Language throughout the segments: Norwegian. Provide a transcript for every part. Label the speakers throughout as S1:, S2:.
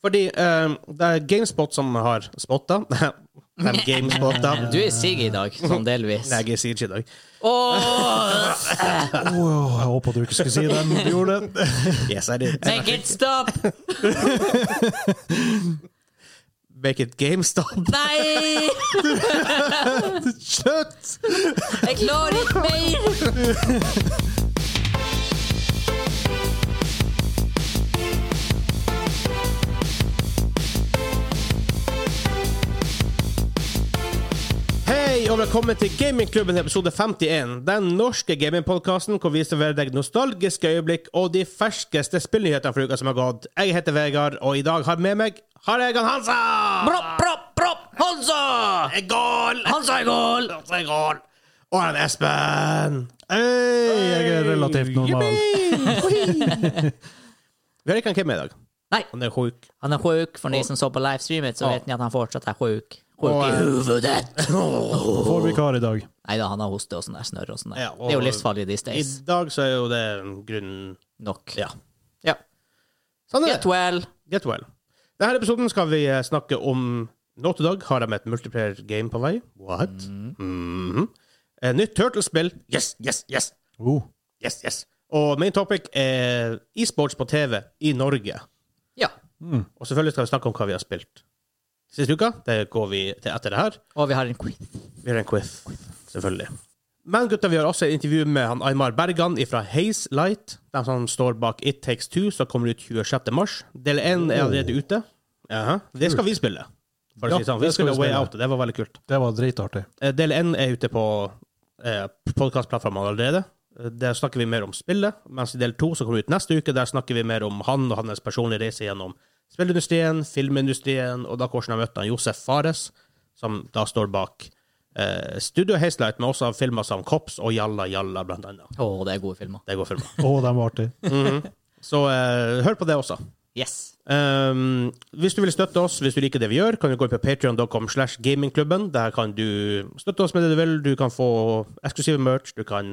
S1: Fordi eh, det er GameSpot som har spotta. De GameSpotta.
S2: Du er sigg i dag, sånn delvis.
S1: Nei, jeg sier ikke i dag.
S2: Åh,
S3: Åh, jeg håpa du ikke skulle si det, men du gjorde det.
S1: Yes, I did.
S2: make it stop!
S1: Make it GameStop.
S2: Nei!
S1: Slutt!
S2: Jeg klarer ikke mer!
S1: Hei og velkommen til Gamingklubben episode 51. Den norske gamingpodkasten hvor vi serverer deg nostalgiske øyeblikk og de ferskeste spillnyhetene for uka som har gått. Jeg heter Vegard, og i dag har med meg Haregan Hansa!
S2: Propp, propp, propp! Hansa!
S1: Er Gål!
S2: Hansa er gål!
S1: Hansa er gål! Og han Espen!
S3: Hei, jeg er relativt normal.
S1: Yippee! Vi har ikke han Kim i dag.
S2: Nei,
S1: Han er sjuk.
S2: han er sjuk. For de som så på livestreamet, så vet ni at han fortsatt er sjuk. Sjuk
S1: Og,
S2: i
S1: eh,
S2: hovedet!
S3: Får vikar i dag.
S2: Nei da, han har hoste og sånn der snørr og sånn der.
S1: Ja, og-
S2: Det er jo livsfarlig these
S1: I
S2: days.
S1: dag så er jo det grunnen
S2: Nok.
S1: Ja.
S2: Ja.
S1: Sånn er
S2: Get
S1: det.
S2: well.
S1: Get well. Denne episoden skal vi eh, snakke om Naughty Dog har de et multiplayer game på vei. What?
S2: Mm.
S1: Mhm. Eh, Nytt Turtles-spill. Yes, yes, yes!
S3: Oh.
S1: Yes, yes. Og main topic er e-sports på TV i Norge.
S2: Ja.
S1: Og selvfølgelig skal vi snakke om hva vi har spilt. Siste uka det går vi til etter det her.
S2: Og vi har en quiz.
S1: Vi har en quiz, selvfølgelig. Men gutta, vi har også et intervju med han Aymar Bergan fra Haze Light, de som står bak It Takes Two, som kommer ut 26. mars. Del 1 er allerede ute. Jaha. Det skal vi spille. For å
S3: Oh. Ja,
S1: si det sånn. Vi
S3: det skal
S1: spiller
S3: vi
S1: Way
S3: spille.
S1: Out, og det var veldig kult.
S3: Det var dritartig.
S1: Eh, Del 1 er ute på eh, podkastplattformene allerede. Eh, Der snakker vi mer om spillet, mens i del 2, som kommer ut neste uke, der snakker vi mer om han og hans personlige reise gjennom spillindustrien, filmindustrien, og da hvordan han møtte han Josef Fares, som da står bak eh, Studio Hazelight, men også av filmer som Kops og Jalla Jalla, blant annet.
S2: Å, det er gode filmer.
S1: Det går filmer.
S3: Å, den var artig.
S1: Så eh, hør på det også.
S2: Yes.
S1: Um, hvis du vil støtte oss, hvis du liker det vi gjør, kan du gå inn på patreon.com slash gamingklubben. Der kan du støtte oss med det du vil. Du kan få eksklusive merch. Du kan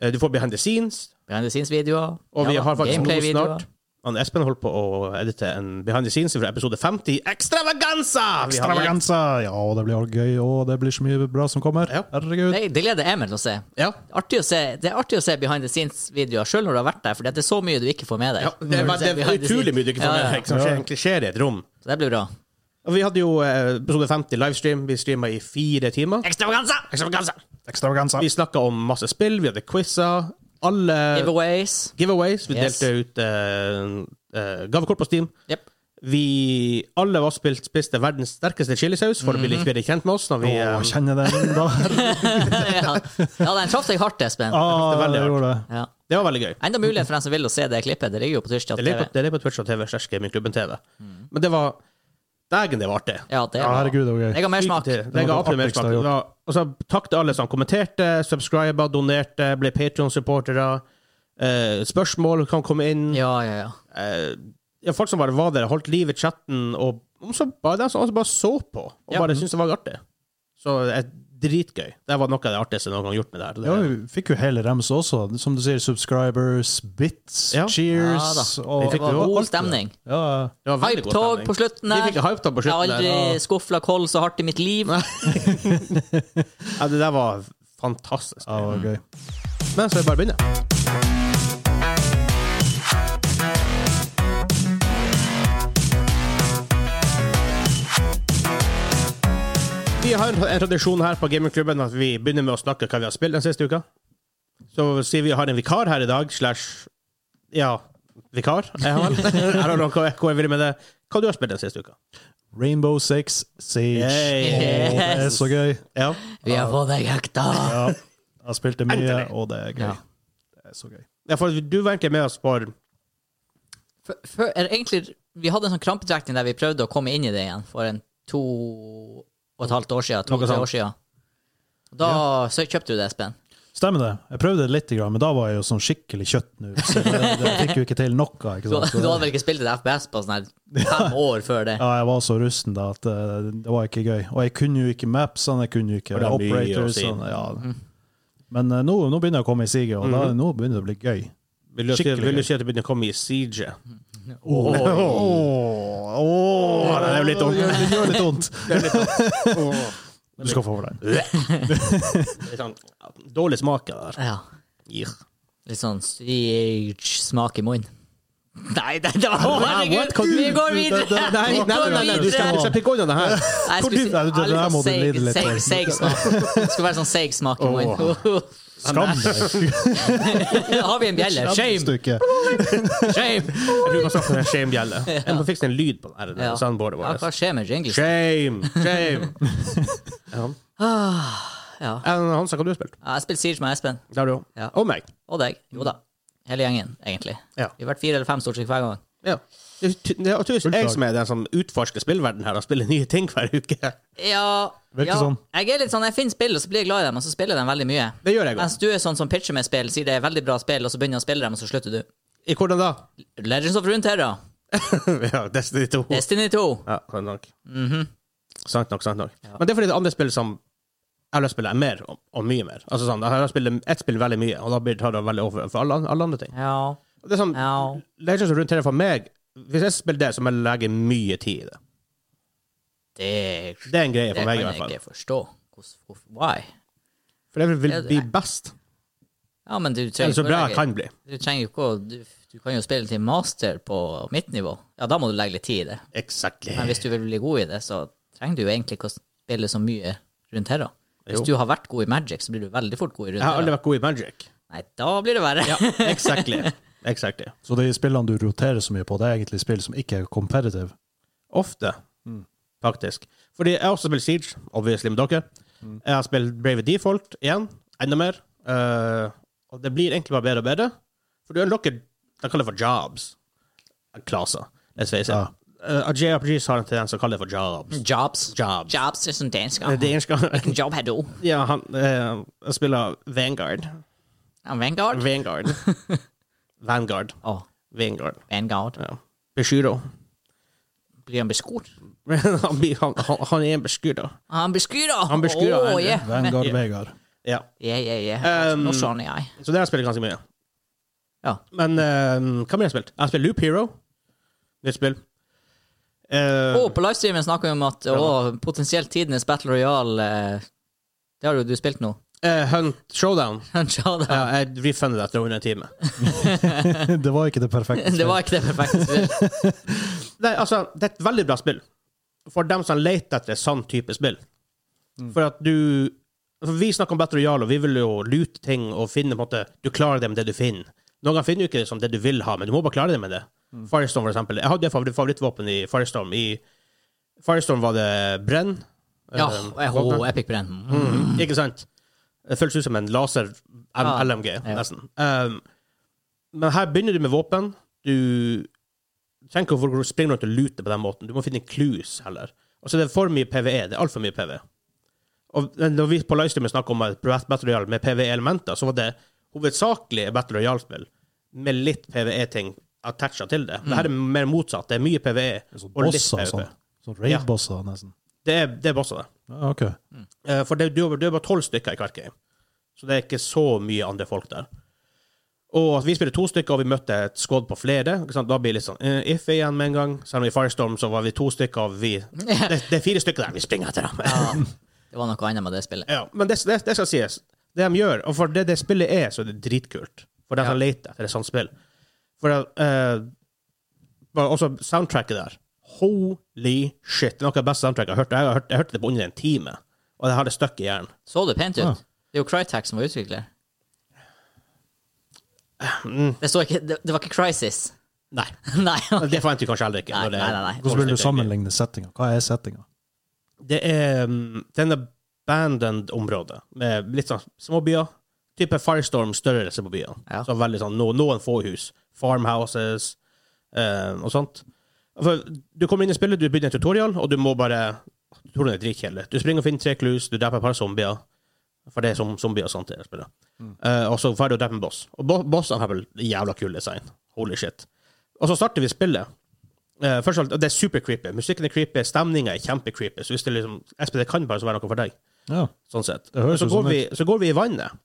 S1: eh, Du får behind the scenes.
S2: Behind the scenes-videoer.
S1: Og vi
S2: Ja,
S1: har faktisk noe
S2: gameplay-videoer.
S1: snart. Han Espen holdt på å edite en behind the scenes fra episode 50. Extravaganza! Vi har-
S3: Stravaganza! Ja, det blir gøy, og det blir så mye bra som kommer.
S1: Ja.
S3: Herregud.
S2: Det, det gleder jeg meg til å se.
S1: Ja.
S2: Artig å se. Det er artig å se behind the scenes-videoer sjøl når du har vært der, for det er så mye du ikke får med deg.
S1: ja. Det, er, det er utrolig mye du ikke får med deg, som
S3: Ja.
S1: skjer- egentlig skjer i et rom.
S2: Så det blir bra.
S1: Og vi hadde jo eh, episode 50 livestream. Vi streama i fire timer.
S2: Ekstravaganza!
S1: Extravaganza!
S3: Extravaganza.
S1: Vi snakka om masse spill, vi hadde quizer. Alle
S2: Giveaways.
S1: giveaways. Vi
S2: Yes.
S1: delte ut eh, eh, gavekort på Steam.
S2: Jep.
S1: Vi alle av oss spilt, spiste verdens sterkeste chilisaus for å bli litt bedre kjent med oss. Når vi,
S3: Å,
S1: eh,
S3: kjenner den da.
S2: ja, Ja, den traff deg hardt, Espen.
S1: Det
S3: Ah,
S1: er veldig
S3: det
S1: hardt.
S3: gjorde det.
S2: Ja.
S1: det var veldig gøy.
S2: Enda mulighet for den som vil å se det klippet. Det ligger jo på Twitch.tv.
S1: Det ligger på, det ligger på Twitch og TV slash Gamingklubben TV. Men det var Dægen, det var artig.
S2: Ja, det
S3: Ja,
S2: var-
S3: herregud, det var
S2: Jeg
S3: gøy.
S2: har mer smak.
S1: Det det ga
S3: var det
S1: absolutt mer
S3: artigste
S1: smak.
S3: jeg har
S1: Det var- Altså, takk til alle som kommenterte, subscriba, donerte, ble Patreon-supportere. Eh, spørsmål kan komme inn.
S2: Ja, ja, ja.
S1: eh, ja, folk som bare var der, holdt liv i chatten, og og så bare, de som også bare så på, og
S2: Ja.
S1: bare syntes det var artig. Så det er dritgøy. Det var noe av det artigste noen gang gjort med det her. Det,
S3: Ja, vi fikk jo hele rems også. Som du sier, subscribers, bits,
S1: Ja.
S3: cheers
S2: Ja da.
S3: og
S2: Det var
S3: og
S2: god
S3: alt det.
S2: stemning.
S3: Ja, ja.
S1: det var veldig god
S2: Hypetog
S1: stemning.
S2: på
S1: Vi
S2: slutten der.
S1: fikk hypetog på
S2: Jeg har
S1: slutten der.
S2: aldri skuffa Koll så hardt i mitt liv.
S1: Ja, det der var fantastisk.
S3: Ja, det var gøy.
S1: Men så er det bare å begynne. Vi har en en tradisjon her på gamingklubben at vi begynner med å snakke hva vi har spilt den siste uka. Så sier vi har en vikar her i dag, slash Ja, vikar? Jeg har vel. I don't know hva hva jeg vil med det. Hva du har spilt den siste uka?
S3: Rainbow Six Siege.
S1: Yay.
S3: Åh, det er så gøy.
S1: Ja.
S2: Vi har fått deg hekta!
S3: Ja, jeg spilte mye,
S1: Endelig.
S3: og det er gøy.
S2: Ja.
S3: Det er så gøy.
S1: ja, for du var egentlig med oss for
S2: Før- før- eller egentlig, vi hadde en sånn krampetrekning der vi prøvde å komme inn i det igjen for en to og et halvt år siden. To,
S1: Noe
S2: tre
S1: sånt.
S2: år siden. Og Da så kjøpte du det, Espen.
S3: Stemmer det. Jeg prøvde det litt, grann, men da var jeg jo sånn skikkelig kjøtt nå. Så det, det fikk jo ikke til noe. Ikke
S2: Du,
S3: sant?
S2: du hadde vel ikke spilt et FPS på sånn her fem år før det?
S3: Ja, jeg var så rusten da at eh, det var ikke gøy. Og jeg kunne jo ikke mapsene, jeg kunne jo ikke
S1: Og det er mye å
S3: operators.
S1: si.
S3: og- Ja.
S2: Mm.
S3: Men eh, nå, nå begynner jeg å komme i siget, og
S1: Mhm.
S3: da, nå begynner det å bli gøy.
S1: Vil du, si,
S3: Skikkelig
S1: vil du
S3: gøy.
S1: si at du begynner å komme i siege?
S3: Åh.
S1: gjør litt
S3: Det
S1: vondt.
S3: gjør- det gjør litt vondt.
S1: Det er litt sånn- Åh.
S3: Du skal få over den.
S1: Litt sånn dårlig smak av det der.
S2: Ja.
S1: Ih.
S2: Litt sånn syk smak i munnen. Nei, det, det var Herregud!
S1: Hva du-
S2: Vi går
S1: Det- det-
S2: videre!
S1: Nei, nei, nei, nei, nei, du skal du skal pikke unna det her.
S2: Nei, jeg
S3: Hvor du-
S2: skulle si ja,
S3: Nei, det- det
S2: litt
S3: der
S2: sånn
S3: må du
S2: seig-
S3: lide litt
S2: seig-
S3: for.
S2: seig smak. Det skulle være sånn seig smak i munnen.
S3: Skam deg.
S2: Har vi en bjelle?
S3: Skam
S2: Shame!
S3: du ikke.
S2: Shame!
S1: Jeg bruker å snakke om den shame-bjelle. Jeg må fikse en lyd på det her
S2: Ja.
S1: soundboardet
S2: Ja, hva
S1: vårt.
S2: skjer med jingles?
S1: Shame! Shame! Ja.
S2: Ja.
S1: Eh, Hansa, hva har du spilt?
S2: Ja, Jeg spilte Siege med Espen.
S1: Det har du òg.
S2: Ja.
S1: Og meg.
S2: Og deg. Jo da. Hele gjengen, egentlig.
S1: Ja.
S2: Vi har vært fire eller fem stort sett hver gang.
S1: Ja. Det er ty- det er tydeligvis jeg som er den som utforsker spillverden her og spiller nye ting hver uke.
S2: Ja,
S3: Virker
S2: ja.
S3: sånn.
S2: Jeg er litt sånn, jeg finner spill, og så blir jeg glad i dem, og så spiller jeg dem veldig mye.
S1: Det gjør jeg
S2: Mens
S1: òg.
S2: du er sånn som pitcher med spill, sier det er veldig bra spill, og så begynner jeg å spille dem, og så slutter du.
S1: I hvordan da?
S2: Legends of Runeterra,
S1: ja, Destiny 2.
S2: Destiny 2.
S1: Ja, sant nok.
S2: Mhm.
S1: Sant nok, sant nok. Men det er fordi det er andre spill som jeg har lyst til å spille mer, og, og mye mer. Altså sånn, Jeg har lyst til å spille ett spill veldig mye, og da blir tar det veldig over for alle, alle andre ting.
S2: Ja.
S1: Og Det er sånn,
S2: Ja.
S1: Legends of Runeterra for meg Hvis jeg spiller det, så må jeg legge mye tid i det.
S2: Det,
S1: Det er en greie
S2: det
S1: for
S2: kan
S1: meg, i
S2: jeg
S1: hvert fall.
S2: ikke forstå. Hvordan- hvorf- Why?
S1: For jeg vil
S2: Det-
S1: bli best.
S2: Ja, men du
S1: Eller
S2: trenger
S1: så
S2: ikke å
S1: bra jeg
S2: legge-
S1: kan bli.
S2: Du trenger jo ikke å du, du kan jo spille til master på mitt nivå. Ja, da må du legge litt tid i det.
S1: Exactly.
S2: Men hvis du vil bli god i det, så trenger du jo egentlig ikke å spille så mye rundt her. da. Hvis
S1: Jo.
S2: du har vært god i Magic, så blir du veldig fort god i rundt
S1: Jeg har
S2: her.
S1: aldri
S2: da.
S1: vært god i magic.
S2: Nei, da blir det verre.
S1: Ja, exactly. exactly.
S3: Så de spillene du roterer så mye på, det er egentlig spill som ikke er competitive.
S1: Ofte, faktisk. Fordi jeg har også spilt Siege, obviously med dere. Jeg har spilt Brave Default igjen, enda mer. Eh, og det blir egentlig bare bedre og bedre. For du unlocker De kaller det for jobs. Klasser, let's face it.
S3: Ja.
S1: Eh, og JRPGs har en tendens til å kalle det for jobs.
S2: Jobs.
S1: Jobs.
S2: Jobs er som dansk. Ah,
S1: Eh, Det er en skal-
S2: Job har du.
S1: ja, han eh, jeg spiller Vanguard.
S2: Ja, Ah, Vanguard.
S1: Vanguard. Vanguard.
S2: Å,
S1: Vanguard.
S2: Vanguard.
S1: Ja. Beskyro.
S2: Blir han beskurt?
S1: han, blir- han, han, han er en beskyro.
S2: Ah, Han beskyrer!
S1: Han beskyrer,
S2: Å,
S1: han.
S2: ja.
S3: Vanguard Vegard.
S1: Ja.
S2: Ja, ja, ja.
S1: Um,
S2: Altså, Nå skjønner jeg.
S1: Så det har jeg spilt ganske mye.
S2: Ja.
S1: Men eh, hva mer har jeg spilt? Jeg har spilt Loop Hero. Nytt spill. Eh,
S2: Å, på livestreamen snakker vi om at å, potensielt tidenes Battle Royale eh, Det har jo du spilt nå.
S1: eh, Hunt Showdown.
S2: Ja, da.
S1: Ja, jeg refundet etter under en time.
S3: Det var ikke det perfekte
S2: Det var ikke det perfekte spillet.
S1: Nei, altså, det er et veldig bra spill. For dem som leter etter sånn type spill. For at du for Vi snakker om Battle Royale, og vi vil jo lute ting og finne på en måte Du klarer det med det du finner. Noen ganger finner du ikke det som det du vil ha, men du må bare klare det med det. Firestorm, for eksempel. Jeg hadde favoritt, favorittvåpen i Firestorm. I Firestorm var det brenn.
S2: Ja,
S1: Eh,
S2: oh, Epic Brenn.
S1: Mm. Ikke sant? Det føles ut som en
S2: Ja.
S1: laser-LMG,
S2: Ja.
S1: nesten. Um, men her begynner du med våpen. Du trenger ikke å springe rundt og lute på den måten. Du må finne clues heller. Og så er det for mye PVE. Det er altfor mye PVE. Og når vi på livestreamen snakket om et Battle Royale med PVE-elementer, så var det hovedsakelig Battle Royale-spill med litt PVE-ting attacha til det. Det her er mer motsatt. Det er mye PVE
S3: Sånn
S1: og litt
S3: bosser og
S1: PVE.
S3: sånn. Sånn raid-bosser, nesten.
S1: Det er, det er bosser, det.
S3: Ja, ok.
S1: Eh, For det, du, du er bare tolv stykker i hvert game, så det er ikke så mye andre folk der. Og at vi spiller to stykker, og vi møtte et skudd på flere. Ikke sant? Da blir det litt sånn eh, iffy igjen med en gang. Selv om i Firestorm så var vi to stykker, og vi Det, det er fire stykker der, vi springer etter dem.
S2: Ja, det var noe annet med det spillet.
S1: Ja, men det, det, det skal sies. Det de gjør, og for det det spillet er, så er det dritkult. For de som leter etter et sånt spill. For eh, bare også soundtracket der. Holy shit. Det er noe av det beste soundtracket jeg har hørt. Jeg, har hørt. jeg hørte det på under en time, og jeg har det støkk i hjernen.
S2: Så det pent ut?
S3: Ja.
S2: Det er jo Crytek som var utvikler.
S1: Mm.
S2: Det, står ikke, det, det var ikke Crisis.
S1: Nei.
S2: nei, ok.
S1: Det forventer vi kanskje heller ikke.
S2: Nei,
S1: når det
S2: nei,
S1: er
S2: nei, nei.
S3: Hvordan vil
S1: tolv
S3: du
S1: stykker.
S3: sammenligne settinga? Hva er settinga?
S1: Det er um, den abandoned området, med litt sånn småbyer. Type Firestorm-størrelse på byene.
S2: Ja.
S1: Så veldig sånn, no, Noen få hus. Farmhouses eh, og sånt. For du kommer inn i spillet, du begynner en tutorial, og du må bare Tutorialen er dritkjedelig. Du springer og finner tre clues, du dreper et par zombier. For det er som zombier og sånt i det spillet.
S2: Mm.
S1: Eh, og så ferdig å drepe en boss. Og bo bossene har vel jævla kul design. Holy shit. Og så starter vi spillet. Eh, først og fremst, Det er super creepy. Musikken er creepy, stemninga er kjempecreepy. Så hvis det er liksom, Espen, det kan bare så være noe for deg.
S3: Ja.
S1: Sånn sett.
S3: Det høres
S1: så,
S3: jo
S1: går
S3: sånn
S1: vi, så går vi i vannet.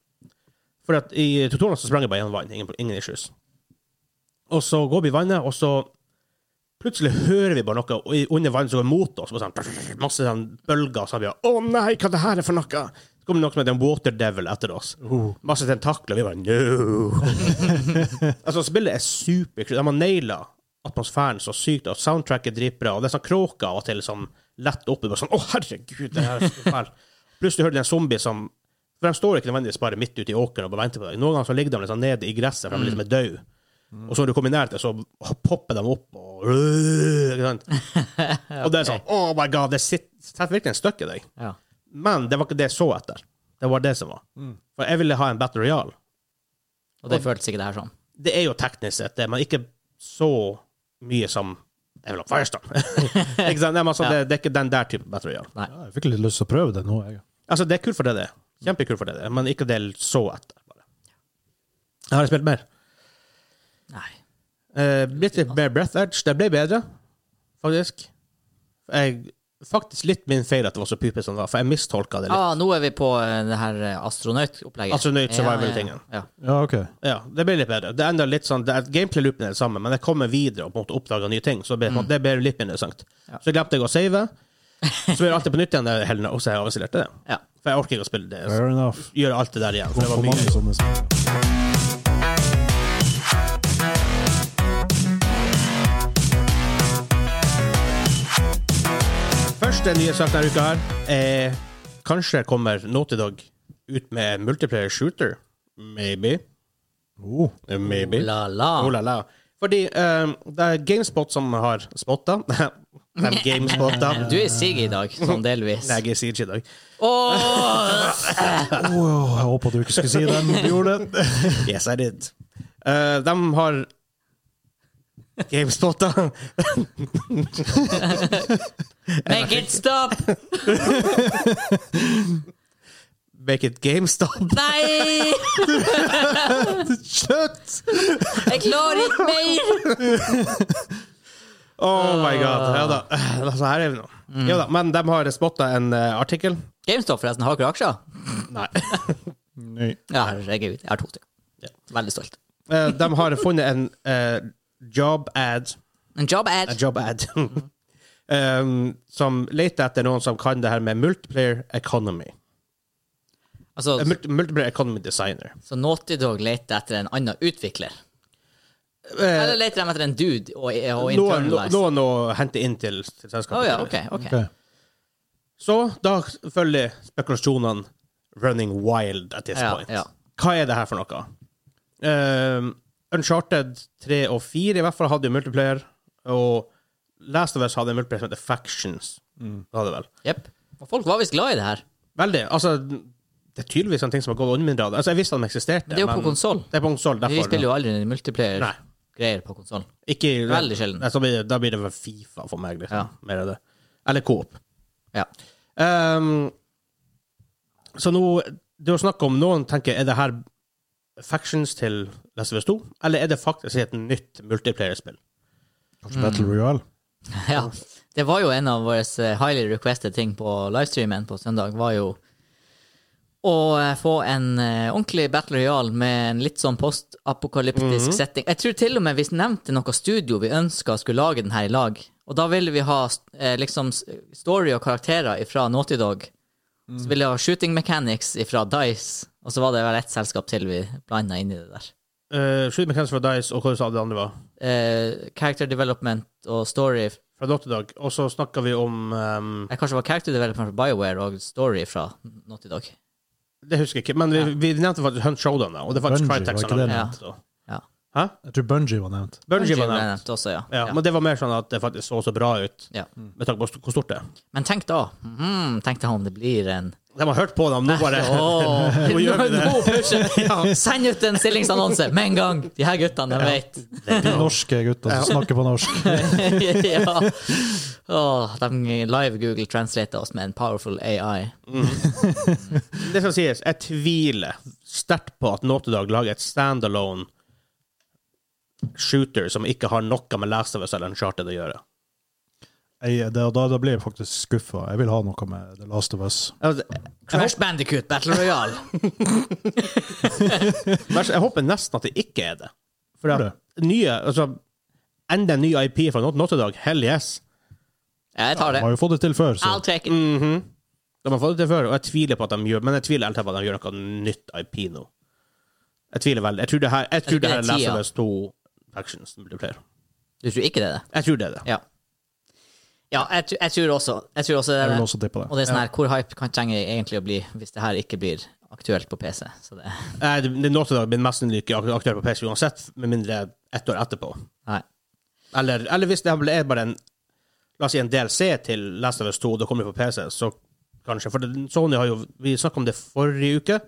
S1: For at i tutorialen så sprang jeg bare gjennom vann. Ingen, ingen issues. Og så går vi i vannet, og så Plutselig hører vi bare noe og i- under vann som går mot oss. Bare sånn, masse sånn bølger. Så vi bare, å nei, hva det her er for noe? Så kommer det noe som heter en water devil etter oss.
S3: Uh.
S1: Masse tentakler. Vi bare no. altså, spillet er superkult. De har naila atmosfæren så sykt, og soundtracket er dritbra. Og det er sånn kråker av og til sånn lett opp. og Bare sånn, å herregud, det her er så fælt. Plutselig hører du en zombie som for de står ikke nødvendigvis bare midt ute i åkeren og bare venter på deg. Noen ganger så ligger de liksom nede i gresset, for de liksom er døde. Og så når du kommer nær til, så popper de opp og ikke sant? Og det er sånn Oh my god, det sitter- setter virkelig en støkk i deg.
S2: Ja.
S1: Men det var ikke det jeg så etter. Det var det som var. For jeg ville ha en Battle Royale.
S2: Og det føltes ikke det her sånn.
S1: Det er jo teknisk sett det, men ikke så mye som jeg vil ha Firestorm. ikke sant? Nei, men altså, det, det er ikke den der type Battle Royale.
S3: Ja, jeg fikk litt lyst til å prøve det nå. Jeg.
S1: Altså, det er kult for det det er. Kjempekult for det det er, men ikke det jeg så etter. Bare. Jeg har spilt mer.
S2: Nei.
S1: Eh, litt mer breath edge. Det ble bedre, faktisk. Jeg, faktisk litt min feil at det var så pype som det var, for jeg mistolka det litt.
S2: Ah, nå er vi på eh, det her eh, astronautopplegget.
S1: Astronaut survival-tingen.
S2: Ja, ja,
S3: Ja, OK.
S1: Ja, det ble litt bedre. Det er enda litt sånn, det er, Gameplay-loopen er det samme, men jeg kommer videre og på en måte oppdager nye ting. Så det ble, det ble litt mer interessant.
S2: Mm. Ja.
S1: Så glemte jeg å save. Så gjør jeg alltid på nytt igjen det helene, og så har jeg avslørt det.
S2: ja. ja.
S1: For jeg orker ikke å spille det.
S3: Fair enough.
S1: Gjøre alt det der igjen. For
S3: For,
S1: det var
S3: for mange
S1: mye.
S3: sånne spill.
S1: Første nye sak denne uka her er Kanskje kommer Naughty Dog ut med multiplayer shooter. Maybe.
S3: Oh,
S1: Maybe.
S2: La la.
S1: Oh la la. Fordi eh, det er GameSpot som har spotta. De GameSpotta.
S2: Du er sigg i dag, sånn delvis.
S1: Nei, jeg sier ikke i dag.
S2: Åh!
S3: oh, jeg håpa du ikke skulle si den. Du gjorde det.
S1: Yes, I did. Eh, de har GameSpotta.
S2: Make it stop!
S1: Make it GameStop.
S2: Nei!
S1: Slutt!
S2: Jeg klarer ikke mer!
S1: Oh my god. Ja da. Altså, her er vi nå.
S2: Mm.
S1: Ja da, men de har spotta en eh, artikkel.
S2: GameStop forresten har ikke aksjer.
S1: Nei.
S3: Nei.
S2: Ja, herregud. Jeg har to til. Veldig stolt.
S1: Eh, de har funnet en eh, job ad.
S2: En job
S1: En
S2: ad.
S1: job ad. um, som leter etter noen som kan det her med multiplayer economy.
S2: Altså,
S1: Eh, multi- multiplayer economy designer.
S2: så Naughty Dog leter etter en annen utvikler.
S1: Eh,
S2: Eller leter de etter en dude og, og
S1: noen,
S2: internalize?
S1: noen å hente inn til, til selskapet.
S2: Å ja, OK. ok.
S3: Ok.
S1: Så da følger spekulasjonene running wild at this
S2: Ja,
S1: point.
S2: ja.
S1: Hva er det her for noe? Um, Uncharted 3 og 4 i hvert fall hadde jo multiplayer, og Last of Us hadde en multiplayer som heter Factions. Det hadde vel.
S2: Jepp. Og folk var visst glad i det her.
S1: Veldig. Altså, det er tydeligvis en ting som har gått under min radar. Altså, jeg visste at de eksisterte.
S2: Det er jo på
S1: men-
S2: konsoll.
S1: Det er på konsoll, derfor.
S2: Vi spiller jo aldri
S1: Nei.
S2: multiplayer-greier på konsoll.
S1: Ikke,
S2: Veldig sjelden.
S1: Nei, så blir det, da blir det vel Fifa for meg, liksom.
S2: Ja.
S1: Mer av det. Eller Coop.
S2: Ja.
S1: Ehm, så nå Det er jo snakk om Noen tenker er det her factions til Last of Us 2, eller er det faktisk et nytt multiplayer-spill?
S3: Kanskje Battle
S1: Mm.
S3: Royale?
S2: ja. Det var jo en av våre eh, highly requested ting på livestreamen på søndag, var jo å eh, få en eh, ordentlig battle royal med en litt sånn postapokalyptisk setting. Jeg tror til og med vi nevnte noe studio vi ønska skulle lage den her i lag. Og da ville vi ha eh, liksom s- story og karakterer fra Naughty Dog. Så ville vi ha shooting mechanics fra Dice, og så var det vel ett selskap til vi blanda inn i det der.
S1: Uh, Shoot McKenzie fra Dice, og hva du sa det andre var?
S2: Eh, character development og story
S1: Fra Naughty Dog. Og så snakka vi om ehm,
S2: Jeg kanskje var character developer fra BioWare og Story fra Naughty Dog.
S1: Det husker jeg ikke, men vi, vi nevnte faktisk Hunt Showdown, da, og det er faktisk
S3: Bungie,
S1: Crytek
S3: var
S1: som
S3: ikke
S1: har
S3: det
S1: nevnt det.
S2: Ja.
S1: Hæ?
S3: Jeg tror Bungie var nevnt.
S1: Bungie
S2: ble
S1: var nevnt.
S2: nevnt også, ja.
S1: Ja,
S2: ja.
S1: Men det var mer sånn at det faktisk så så bra ut,
S2: ja.
S3: Mm.
S1: med tanke på st- hvor stort det er.
S2: Men tenk da. mhm, tenk da om det blir en
S1: De har hørt på dem, nå bare
S2: Åh,
S1: Nå gjør vi det.
S2: nå pusher vi. Send ut en stillingsannonse med en gang! De her guttene vet.
S3: Norske gutter som snakker på norsk.
S2: ja. Åh, de live Google translater oss med en powerful AI.
S1: Det skal sies, jeg tviler sterkt på at Naughty Dog lager et standalone shooter som ikke har noe med Last of Us eller Uncharted å gjøre.
S3: Jeg, da, da da blir jeg faktisk skuffa. Jeg vil ha noe med The Last of Us.
S1: Altså,
S2: Crash Bandicoot Battle Royale.
S1: men jeg håper nesten at det ikke er det. For
S3: Tror
S1: at nye, altså, Enda en ny IP fra Not Nottedag. Hell yes.
S2: Jeg tar det.
S3: De har jo fått det til før, så
S2: I'll take it.
S1: Mhm. De har fått det til før, og jeg tviler på at de gjør Men jeg tviler helt på at de gjør noe nytt IP nå. Jeg tviler veldig. Jeg tror det her, jeg tror
S2: tror
S1: Altså, det her er
S2: det er
S1: Last
S2: tida.
S1: of Us 2 Factions multiplayer.
S2: Du tror ikke det, det?
S1: Jeg tror det er det.
S2: Ja. Ja, jeg, tr- jeg tror også jeg tror også det.
S3: jeg
S2: Er
S3: vil
S2: det.
S3: også tippe
S2: Og
S3: det.
S2: det er sånn her, hvor hype kan trenger jeg egentlig å bli hvis det her ikke blir aktuelt på PC? Så det,
S1: Nei, det- det Naughty Dog blir mest sannsynlig ikke ak- aktuell på PC uansett, med mindre ett år etterpå.
S2: nei.
S1: Eller, eller hvis det her ble- er bare en La oss si en DLC til Last of Us 2, og det kommer på PC, så kanskje. For det- Sony har jo Vi snakket om det forrige uke,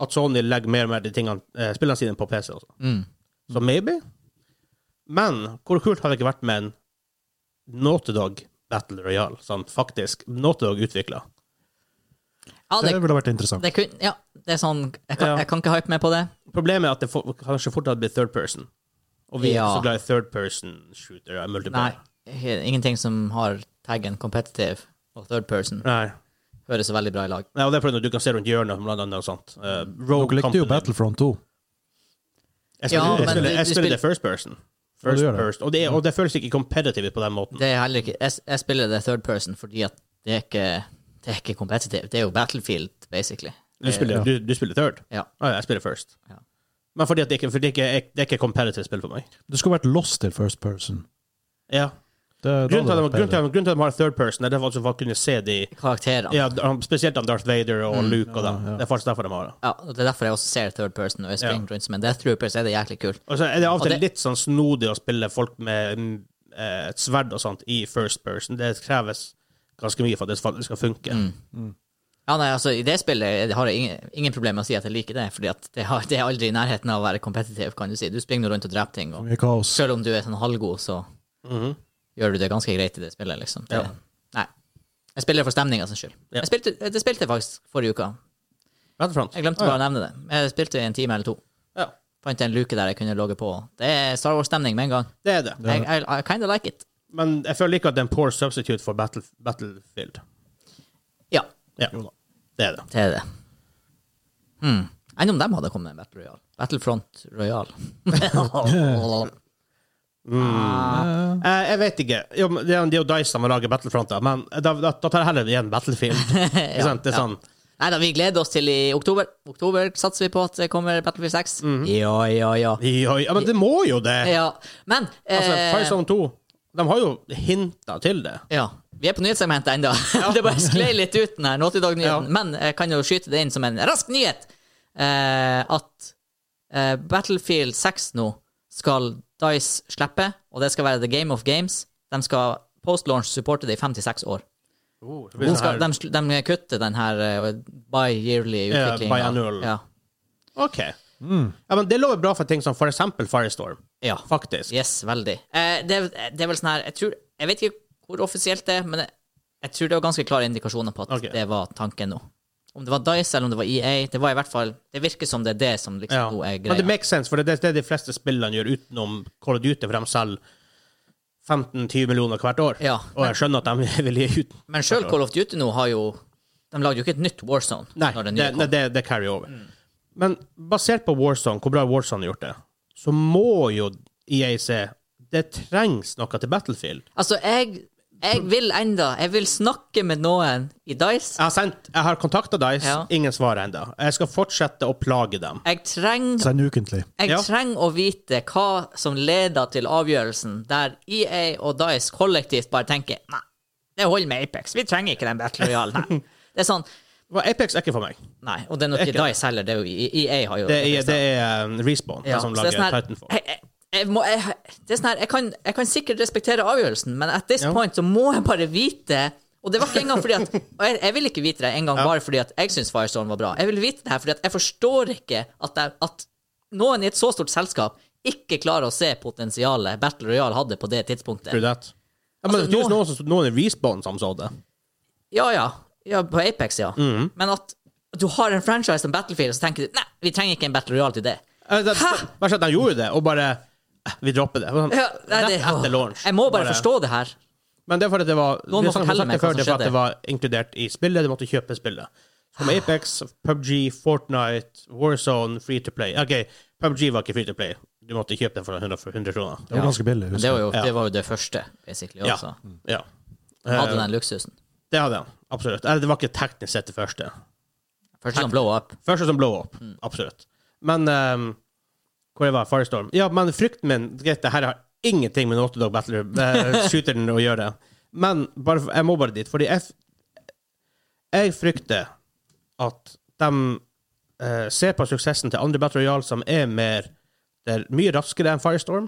S1: at Sony legger mer og mer de tingene, eh, spillene sine på PC. Også.
S2: Mm.
S1: Så maybe. Men hvor kult hadde det ikke vært med en Naughty Dog Battle Royale, som faktisk Naughty Dog utvikla?
S2: Ja,
S3: Det
S2: det,
S3: ville vært interessant.
S2: det, kun, ja, det er sånn jeg kan,
S1: Ja.
S2: jeg kan ikke hype meg på det.
S1: Problemet er at det for, kanskje fort hadde blitt third person. Og vi er
S2: Ja.
S1: ikke så glad i third person shooter. og
S2: Nei.
S1: multiplayer.
S2: Ingenting som har taggen competitive og third person.
S1: Nei.
S2: Høres så veldig bra i lag.
S1: Nei, og det er fordi du kan se rundt hjørnet blant annet og sånt. Eh,
S3: Dere
S1: Rogue
S3: likte jo
S1: Company.
S3: Battlefront 2.
S1: Jeg spiller,
S2: Ja,
S1: jeg
S2: men
S1: spiller,
S2: du-
S1: jeg
S2: du
S1: spiller det
S2: spiller-
S1: first person.
S3: Ja, du
S1: First
S3: gjør det.
S1: person. Og, det, er- og det føles ikke competitive på den måten.
S2: Det er heller ikke, jeg, jeg spiller det third person fordi at det er ikke det er ikke competitive. Det er jo battlefield, basically.
S1: Du spiller,
S3: Ja.
S1: du, du spiller third.
S2: Ja.
S1: Ah, ja, jeg spiller first.
S2: Ja.
S1: Men fordi at det ikke, for det ikke, er- det er ikke competitive spill for meg.
S3: Det skulle vært lost til first person.
S1: Ja.
S3: Det, da
S1: Grunnen til, at
S3: hadde
S1: de, grunnen,
S3: det vært
S1: til,
S3: bedre.
S1: at- grunnen til at de har third person, er derfor at du får kunne se de
S2: Karakterene. Ja.
S1: ja, d- Spesielt om Darth Vader
S3: Mm.
S1: og Luke og dem. Det er faktisk derfor de har det.
S2: og det er derfor jeg også ser third person. Og jeg springer rundt som en death trooper, så er det jæklig kult.
S1: Og så er det av og
S2: Og
S1: til
S2: det-
S1: litt sånn snodig å spille folk med mm, eh, et sverd og sånt i first person. Det kreves ganske mye for at det faktisk skal funke.
S2: Mm. Ja, nei, altså, I det spillet har jeg ingen, ingen problemer med å si at jeg liker det, fordi at det, har, det er aldri i nærheten av å være competitive, kan du si. Du springer rundt og dreper ting, og
S3: Mye kaos.
S2: selv om du er sånn halvgod, så
S1: Mhm.
S2: gjør du det ganske greit i det spillet, liksom. Det,
S1: Ja.
S2: Nei. Jeg spiller for stemninga sin skyld.
S1: Ja.
S2: Jeg spilte, eh, det spilte jeg faktisk forrige uke.
S1: Battlefront.
S2: Jeg glemte bare å nevne det. Jeg spilte i en time eller to.
S1: Ja.
S2: Fant en luke der jeg kunne logge på. Det er Star Wars-stemning med en gang.
S1: Det er det.
S2: I, I, I kinda like it.
S1: Men jeg føler ikke at det er en poor substitute for battle, Battlefield.
S2: Ja,
S1: Ja, det er det.
S2: det er det. Hmm. Enn om de hadde kommet med en Battle Royale. Battlefront Royale. Ah.
S3: Eh,
S1: Eh, jeg vet ikke. Jo, men det er det er jo Dice som lager Battlefront, da, men da, da, da tar jeg heller igjen Battlefield. Ikke sant? Det er sånn.
S2: Nei da, vi gleder oss til i oktober. Oktober satser vi på at det kommer Battlefield 6. Ja, ja, ja. Eh,
S1: Ja, ja, men det må jo det!
S2: ja. Men
S1: Altså,
S2: eh,
S1: Firezone 2 De har jo hinta til det.
S2: Ja. Vi er på nyhetssegmentet ennå. det bare sklei litt ut den her Nåtidag-nyheten.
S1: Ja.
S2: Men jeg kan jo skyte det inn som en rask nyhet eh, at eh, Battlefield 6 nå skal Dice slippe, og det skal være The Game of Games. De skal post-launch supporte det i 56 år.
S1: Det
S2: De,
S1: blir sånn
S2: skal,
S1: her-
S2: de, sl- de kutter den her eh, bi-yearly
S1: Ja,
S2: utviklinga.
S1: biannual.
S2: Ja.
S1: OK. Ja, men det lover bra for ting som for eksempel Firestorm,
S2: ja.
S1: faktisk.
S2: Yes, veldig. Eh, det, det er vel sånn her jeg, tror, jeg vet ikke hvor offisielt det er, men jeg, jeg tror det var ganske klare indikasjoner på at
S1: Ok.
S2: det var tanken nå. Om det var Dice eller om det var EA, det var i hvert fall Det virker som det er det som liksom
S1: Ja.
S2: nå er
S1: Men
S2: greia.
S1: det makes sense, for det er det de fleste spillene gjør utenom Call of Duty, for de selger 15-20 millioner hvert år.
S2: Ja.
S1: Og jeg skjønner at de vil gi ut
S2: men sjøl Call of Duty nå har jo De lagde jo ikke et nytt Warzone.
S1: Nei,
S2: når
S1: det,
S2: det nye kom. Mm.
S1: nei, det, det carry over. Men basert på Warzone, hvor bra Warzone har gjort det, så må jo EA se det trengs noe til Battlefield.
S2: Altså, jeg, jeg vil enda Jeg vil snakke med noen i Dice.
S1: Jeg har, sendt, jeg har kontakta Dice,
S2: Ja.
S1: ingen svar ennå. Jeg skal fortsette å plage dem.
S2: Jeg trenger
S3: Send ukentlig.
S2: Jeg
S1: Ja.
S2: trenger å vite hva som leder til avgjørelsen der EA og Dice kollektivt bare tenker Nei, det holder med Apex. Vi trenger ikke den Battle Royale. Nei. Det er sånn
S1: Men Apex er ikke for meg.
S2: Nei, og det er nok ikke
S1: Ikke.
S2: Dice heller. Det er jo EA har jo
S1: Det er, det er um, Respawn
S2: Ja,
S1: som
S2: så det
S1: lager
S2: er sånn her-
S1: Titanfall.
S2: jeg, jeg, jeg, må, jeg, det er sånn her, jeg, kan, jeg kan sikkert respektere avgjørelsen, men at this
S1: Ja.
S2: point så må jeg bare vite Og det var ikke engang fordi at og jeg, jeg vil ikke vite det engang bare fordi at jeg syns Firestorm var bra. Jeg vil vite det her fordi at jeg forstår ikke at, jeg, at noen i et så stort selskap ikke klarer å se potensialet Battle Royale hadde på det
S1: True
S2: tidspunktet.
S1: that. Ja, men
S2: Altså,
S1: det er jo
S2: nå-
S1: noen, som- noen i Respawn som så det.
S2: Ja, ja. ja på Apex, ja.
S1: Mhm.
S2: Men at du har en franchise som Battlefield, og så tenker du nei, vi trenger ikke en Battle Royale til det.
S1: Eh, det-
S2: Hæ?
S1: Bare sånn at de gjorde det, og bare eh, Vi dropper det. Sånn,
S2: Ja, nei, det-
S1: Rett etter launch.
S2: Jeg må bare forstå det her.
S1: Men det er fordi det var
S2: Noen må
S1: det er sånn,
S2: fortelle
S1: jeg sa
S2: meg hva
S1: før,
S2: som
S1: det er for at
S2: skjedde. Ah.
S1: det var inkludert i spillet. De måtte kjøpe spillet. Som Apex, PubG, Fortnite, Warzone, Free to Play. OK, PubG var ikke Free to Play. Du måtte kjøpe den for 100, for 100 kroner.
S3: Det var
S2: Ja.
S3: ganske billig.
S2: Men
S3: husker
S2: det var,
S3: jeg.
S2: jo,
S1: Ja.
S2: det var jo det første, basically,
S1: Ja.
S2: også.
S1: Ja.
S2: Mm. Hadde
S1: Eh,
S2: den luksusen.
S1: det hadde han. Absolutt. Eller, det var ikke teknisk sett det første.
S2: Første som blow up.
S1: Første som blow up. Absolutt. Men ehm, Hvor jeg var Firestorm? Ja, men frykten min Greit, det her har ingenting med Naughty Dog Battler eh, shooteren å gjøre. Men bare, for- jeg må bare dit, fordi jeg, f- jeg frykter at de eh, ser på suksessen til andre Battle Royale som er mer Det er mye raskere enn Firestorm.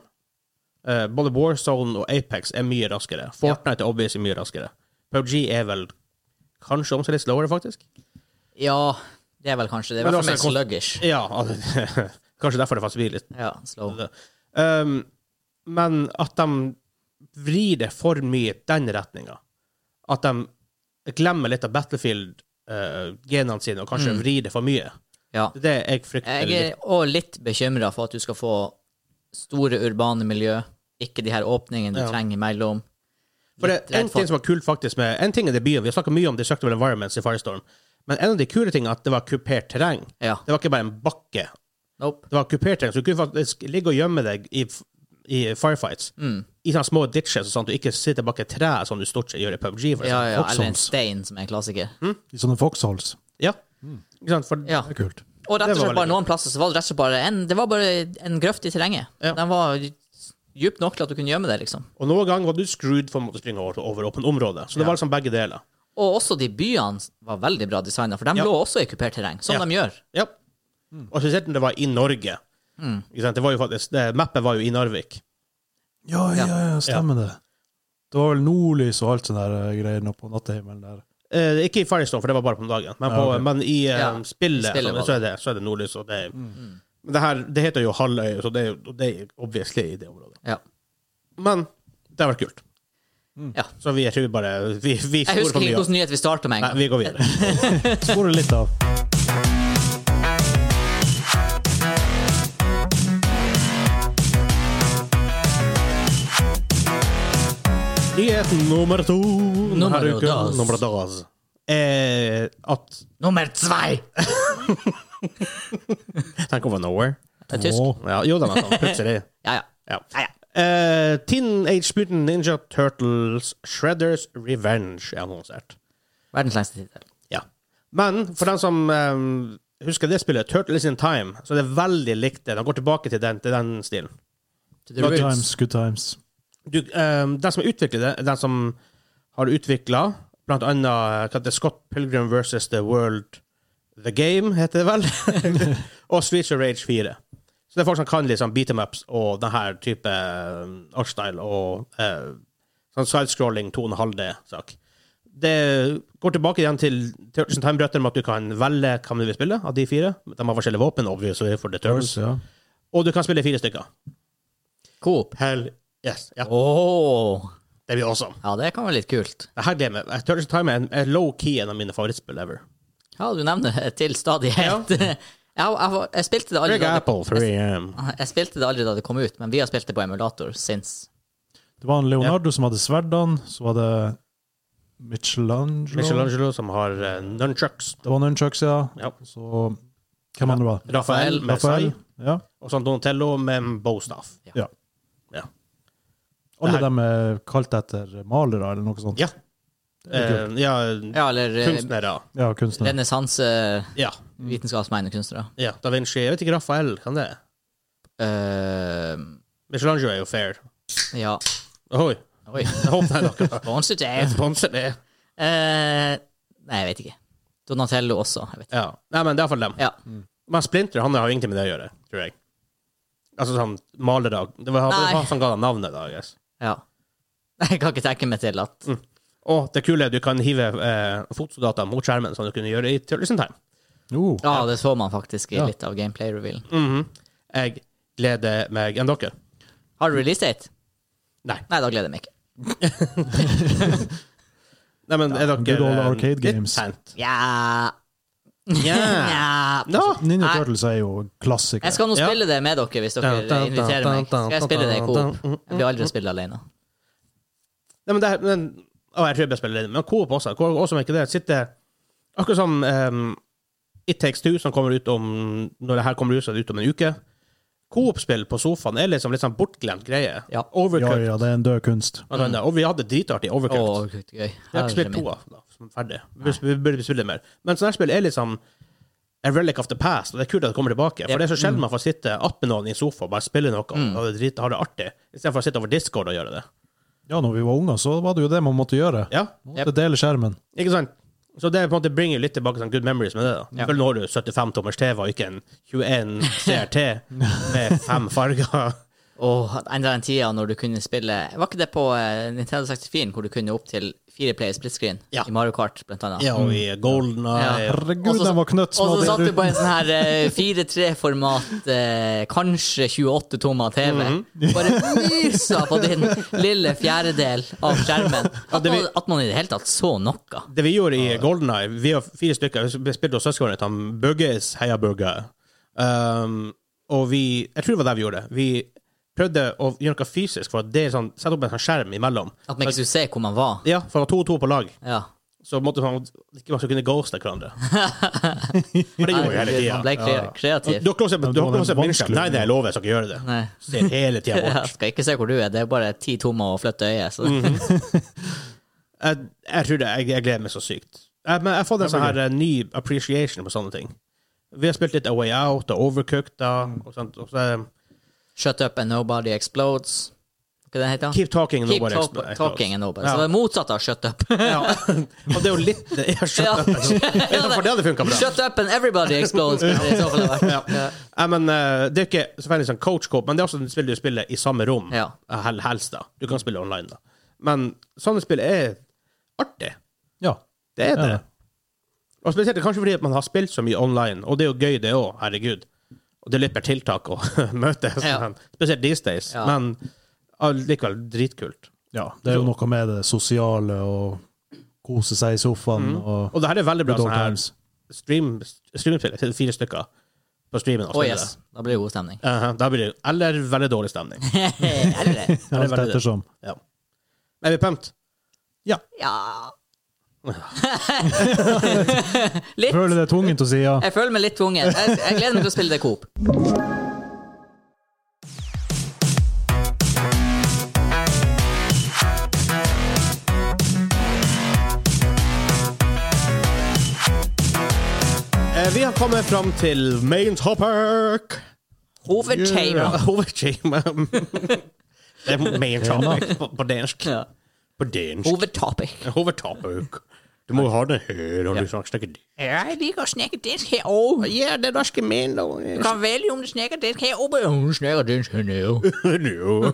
S1: Eh, både Warzone og Apex er mye raskere. Fortnite er obviously mye raskere. PUBG er vel kanskje om seg litt slowere, faktisk.
S2: Ja, det er vel kanskje det. I
S1: Men
S2: hvert fall
S1: også
S2: mer
S1: kon-
S2: sluggish.
S1: Ja, altså, kanskje derfor det faktisk blir litt
S2: Ja, slow.
S1: um, Men at de vrir det for mye i den retninga. At de glemmer litt av Battlefield-genene sine, og kanskje vrir det for mye.
S2: Ja.
S1: Det er det jeg frykter.
S2: Mm. Jeg er
S1: litt.
S2: òg litt bekymra for at du skal få store urbane miljø, ikke de her åpningene du
S1: Ja.
S2: trenger imellom.
S1: For
S2: Litt
S1: det, en
S2: redd for-
S1: ting som var kult faktisk med En ting er det byen, vi har snakka mye om Destructible Environments i Firestorm, men en av de kule tingene er at det var kupert terreng.
S2: Ja.
S1: Det var ikke bare en bakke.
S2: Nope.
S1: Det var kupert terreng, så du kunne faktisk ligge og gjemme deg i, i firefights.
S2: Mm.
S1: I sånne små ditches, sånn at du ikke sitter bak et tre, som du stort sett gjør i PubG. For
S2: Ja,
S1: eksempel.
S2: ja, eller en
S3: Foxhounds.
S2: stein, som er en klassiker.
S1: Mm.
S3: I sånne foxholes.
S1: ja. Ikke sant? For,
S2: Ja.
S3: Det er kult.
S2: Og rett
S1: Det var
S2: og slett bare
S1: veldig
S2: noen plasser så var det rett og slett bare en, det var bare en grøft i terrenget.
S1: Ja.
S2: Den var djup nok til at du kunne gjemme deg, liksom.
S1: Og noen ganger var du screwed for å måtte springe over, over åpent område. Så det var liksom begge deler.
S2: Og også de byene var veldig bra designa, for de
S1: Ja.
S2: lå også i kupert terreng, som
S1: Ja.
S2: de gjør.
S1: Ja. Mm. Og spesielt når det var i Norge.
S2: Mm.
S1: Ikke sant? Det var jo faktisk, det, mappet var jo i Narvik.
S3: Ja, ja, ja, stemmer det. Det var vel nordlys og alt sånne der eh, greier nå på nattehimmelen der.
S1: Eh, ikke i Firestone, for det var bare på dagen, men, på,
S3: Ja, ok.
S1: men i eh,
S2: Ja,
S1: spillet,
S2: i spillet
S1: så,
S2: var Mm.
S1: så, er det, så er det nordlys. Og det, er- Men det, her, det heter jo halvøy, så det er jo og det er obviously i det området.
S2: Ja.
S1: Men det har vært kult.
S3: Mm.
S2: Ja.
S1: Så vi jeg tror bare Vi, vi
S2: Jeg
S1: sporer
S2: husker
S1: for
S2: ikke
S1: mye. av-
S2: hvilken nyhet vi starta med
S1: Nei,
S2: engang.
S1: vi går videre.
S3: Sporer litt av.
S1: Nyhet nummer to
S2: Nummer
S1: denne uken,
S2: dos.
S1: nummer dos, er at
S2: Nummer zwei!
S1: Tenk over Nowhere.
S2: Det er tysk.
S3: Åh.
S1: Ja, jo, den er sånn. Plutselig.
S2: Ja, ja.
S1: Ja. Eh, Teenage Mutant Ninja Turtles Shredders Revenge er annonsert.
S2: Verdens lengste tittel.
S1: Ja. Men for den som eh, husker det spillet, Turtles in Time, så er det veldig likt det. De går tilbake til den, til den stilen.
S2: To the
S1: Good
S3: Good
S2: roots.
S3: times, good times.
S1: Du, eh, den som har utviklet det, er den som har utvikla blant annet eh, hva heter det, Scott Pilgrim versus The World The Game, heter det vel. og Streets of Rage 4. Så det er folk som kan liksom beat em ups og denne type eh, artstyle og eh, sånn sidescrolling 2,5D-sak. Det går tilbake igjen til Turtles in Time-brøttene med at du kan velge hvem du vil spille av de fire. De har forskjellige våpen, obviously, for The Turtles.
S3: Ja.
S1: Og du kan spille fire stykker.
S2: Coop.
S1: Hell yes. Ja,
S2: Åh.
S1: det blir awesome.
S2: Ja, det kan være litt kult.
S1: Det her glemmer jeg. Turtles in Time er en- er low-key en av mine favorittspill ever.
S2: Ja, du nevner det til stadighet. Jeg, jeg, var- jeg, spilte det aldri
S1: Big
S2: da det,
S1: Apple 3M.
S2: jeg spilte det aldri da det kom ut, men vi har spilt det på emulator since.
S3: Det var en Leonardo som hadde sverdene, så var det Michelangelo.
S1: Michelangelo som har eh, nunchucks.
S3: Det var Nunchucks, ja.
S1: Ja.
S3: Så hvem andre var det?
S1: Raphael med
S3: Raphael.
S1: sei,
S3: Ja.
S1: og sånn Donatello med bowstaff.
S3: ja.
S1: Ja.
S3: Alle
S1: Det her-
S3: dem er kalt etter malere eller noe sånt.
S1: Ja. Eh, ja,
S2: Ja, eller eh,
S1: kunstnere.
S3: Ja, kunstnere.
S2: renessanse
S1: Ja.
S2: vitenskapsmenn og kunstnere.
S1: ja. Da Vinci. Jeg vet ikke Raphael, kan det?
S2: Eh,
S1: Michelangelo er jo fair.
S2: ja.
S1: Ohoi.
S2: Oi.
S1: Jeg håper jeg dere
S2: Sponset
S1: er
S2: er
S1: sponset det.
S2: Eh, Nei, jeg vet ikke. Donatello også. Jeg vet ikke.
S1: Ja. Nei, men det er iallfall dem.
S2: Ja.
S1: Men Splinter han har jo ingenting med det å gjøre, tror jeg. Altså sånn malere Det var det var
S2: Nei.
S1: han som ga dem navnet, da. jeg guess.
S2: ja. Jeg kan ikke tenke meg til at
S1: Og det kule er at du kan hive eh, fotsoldater mot skjermen, som du kunne gjøre i Turtles in Time.
S3: Jo.
S2: Ja, det så man faktisk i
S3: Ja.
S2: litt av gameplay-revealen.
S1: Mhm. Jeg gleder meg enn dere.
S2: Har du release date?
S1: Nei.
S2: Nei, da gleder jeg meg ikke.
S1: Nei, men er dere
S3: good old
S1: eh,
S3: arcade
S1: litt
S3: games.
S1: tent?
S2: Ja.
S1: Yeah.
S2: ja.
S1: No.
S3: Altså, Ninja
S2: Nei.
S3: Turtles er jo klassikere.
S2: Jeg skal nå
S1: Ja.
S2: spille det med dere, hvis dere
S1: Dun, dun,
S2: inviterer
S1: dun,
S2: meg.
S1: dun,
S2: Skal jeg spille det i
S1: dun,
S2: coop?
S1: dun,
S2: Jeg blir aldri å spille alene.
S1: Nei, men det er, men, å, jeg tror jeg bør spille det, men Coop også. Coop også men ikke det. Sitter akkurat eh, som ehm, It Takes Two, som kommer ut om Når det her kommer ut, så er det ut om en uke. Coop-spill på sofaen er liksom litt sånn bortglemt greie.
S2: Ja.
S3: Ja,
S1: Overcooked.
S3: ja, det er en død kunst.
S1: blant annet. Og vi hadde det dritartig i
S2: Å,
S1: Overcooked.
S2: gøy.
S1: Vi har ikke spilt
S2: Herre min.
S1: to av da, som er ferdig. Vi, vi burde spille mer. Men sånne her spill er liksom a relic of the past, og det er kult at det kommer tilbake. For
S2: Yep.
S1: det er så sjelden man får sitte opp med noen i en sofa og bare spille noe og ha det, drit, ha det artig, istedenfor å sitte over Discord og gjøre det.
S3: Ja, når vi var unger, så var det jo det man måtte gjøre.
S1: Ja,
S3: Måtte dele skjermen.
S1: ikke sant? Så det på en måte bringer litt tilbake sånn good memories med det. da.
S2: Ja.
S1: Selvfølgelig nå har du 75 tommers TV og ikke en 21 CRT med fem farger.
S2: Og enda den tida når du kunne spille Var ikke det på eh, Nintendo 64 hvor du kunne opp til fire player split screen
S1: Ja.
S2: i Mario Kart, blant annet?
S1: Ja, og i golden
S2: Ja.
S1: og
S3: Herregud,
S2: Også-
S3: den var knøtt små.
S2: Og så
S3: det
S2: satt du
S3: rundt.
S2: på en sånn her eh, 4-3-format, eh, kanskje 28 tommer TV.
S1: Mhm.
S2: Bare mysa på din lille fjerdedel av skjermen. At
S1: det vi-
S2: man, at man i det hele tatt så noe.
S1: Det vi gjorde i Golden Eye, vi var fire stykker, vi spilte hos søskenen mitt, han Bugges, heia Bugge. Um, og vi, jeg tror det var det vi gjorde. Vi prøvde å gjøre noe fysisk, for at det er sånn, sette opp en sånn skjerm imellom. Altså,
S2: At man ikke skulle se hvor man var.
S1: Ja, for det var to og to på lag,
S2: Ja.
S1: så måtte man ikke man skulle kunne ghoste hverandre. For det gjorde vi hele
S2: Man ble
S1: tida.
S2: kre kreativ.
S1: Dere også,
S3: Men det
S1: dere
S3: var
S1: også
S3: vanskelig.
S1: min skjerm. Nei, nei, jeg lover, jeg skal ikke gjøre det.
S2: Nei.
S1: Ser hele tida bort.
S2: Jeg skal ikke se hvor du er, det er bare ti tommer og flytte øyet. Så.
S1: Mhm. Jeg, jeg tror det, jeg, jeg gleder meg så sykt. Jeg, men jeg har fått en sånn her eh, ny appreciation på sånne ting. Vi har spilt litt A Way Out og Overcooked da, og sånt. Og så, eh,
S2: Shut up and nobody explodes. Hva det heter det?
S1: keep talking and
S2: Keep
S1: nobody
S2: talk
S1: expl- explodes.
S2: talking and nobody.
S1: Ja.
S2: Så det er motsatt av shut up.
S1: Ja. og det er jo litt jeg har skjønt
S2: Ja.
S1: at- jeg tror For det hadde funka bra.
S2: Shut up and everybody explodes. kan det i så fall ha vært. Ja.
S1: Nei, men, eh, det er ikke selvfølgelig sånn coach coop, men det er også et spill du spiller i samme rom.
S2: Ja.
S1: Eh, hel- Helst, da. Du kan spille online, da. Men sånne spill er artig.
S3: Ja.
S1: Det er det.
S3: Ja.
S1: Og spesielt kanskje fordi at man har spilt så mye online, og det er jo gøy, det òg. Herregud. Og det er litt per tiltak å møte,
S2: Ja.
S1: sånn. spesielt these days.
S2: Ja.
S1: Men allikevel dritkult.
S3: ja. Det er jo noe med det sosiale og kose seg i sofaen
S2: Mm.
S3: og
S1: Og det her er veldig bra
S3: good
S1: sånn
S3: old
S1: her
S3: times.
S1: stream, streamspill. Jeg ser Fire stykker på streamen. og
S2: Å,
S1: spiller
S2: yes. Da blir det god stemning.
S1: det. Eh, da blir det eller veldig dårlig stemning.
S2: Eller det.
S1: Ja, det er
S3: Alt
S1: veldig det.
S3: ettersom.
S1: Ja. Er vi pumped?
S2: Ja Litt.
S3: Føler det er tvungent å si ja.
S2: Jeg føler meg litt tvunget. Jeg, jeg gleder meg til å spille det Coop.
S1: Eh, vi har kommet fram til main topic.
S2: Hovedtema.
S1: Ja, Hovedtema. det er main topic på, på dansk.
S2: Ja.
S1: På dansk.
S2: Hovedtopic.
S1: Hovedtopic. Du må jo ha det her, og
S2: Ja.
S1: du snakker snakker det.
S2: Jeg liker å snakke dansk her òg.
S1: Ja, det norske min, og
S2: Du kan velge om du snakker dansk her oppe. Hun snakker dansk her nå.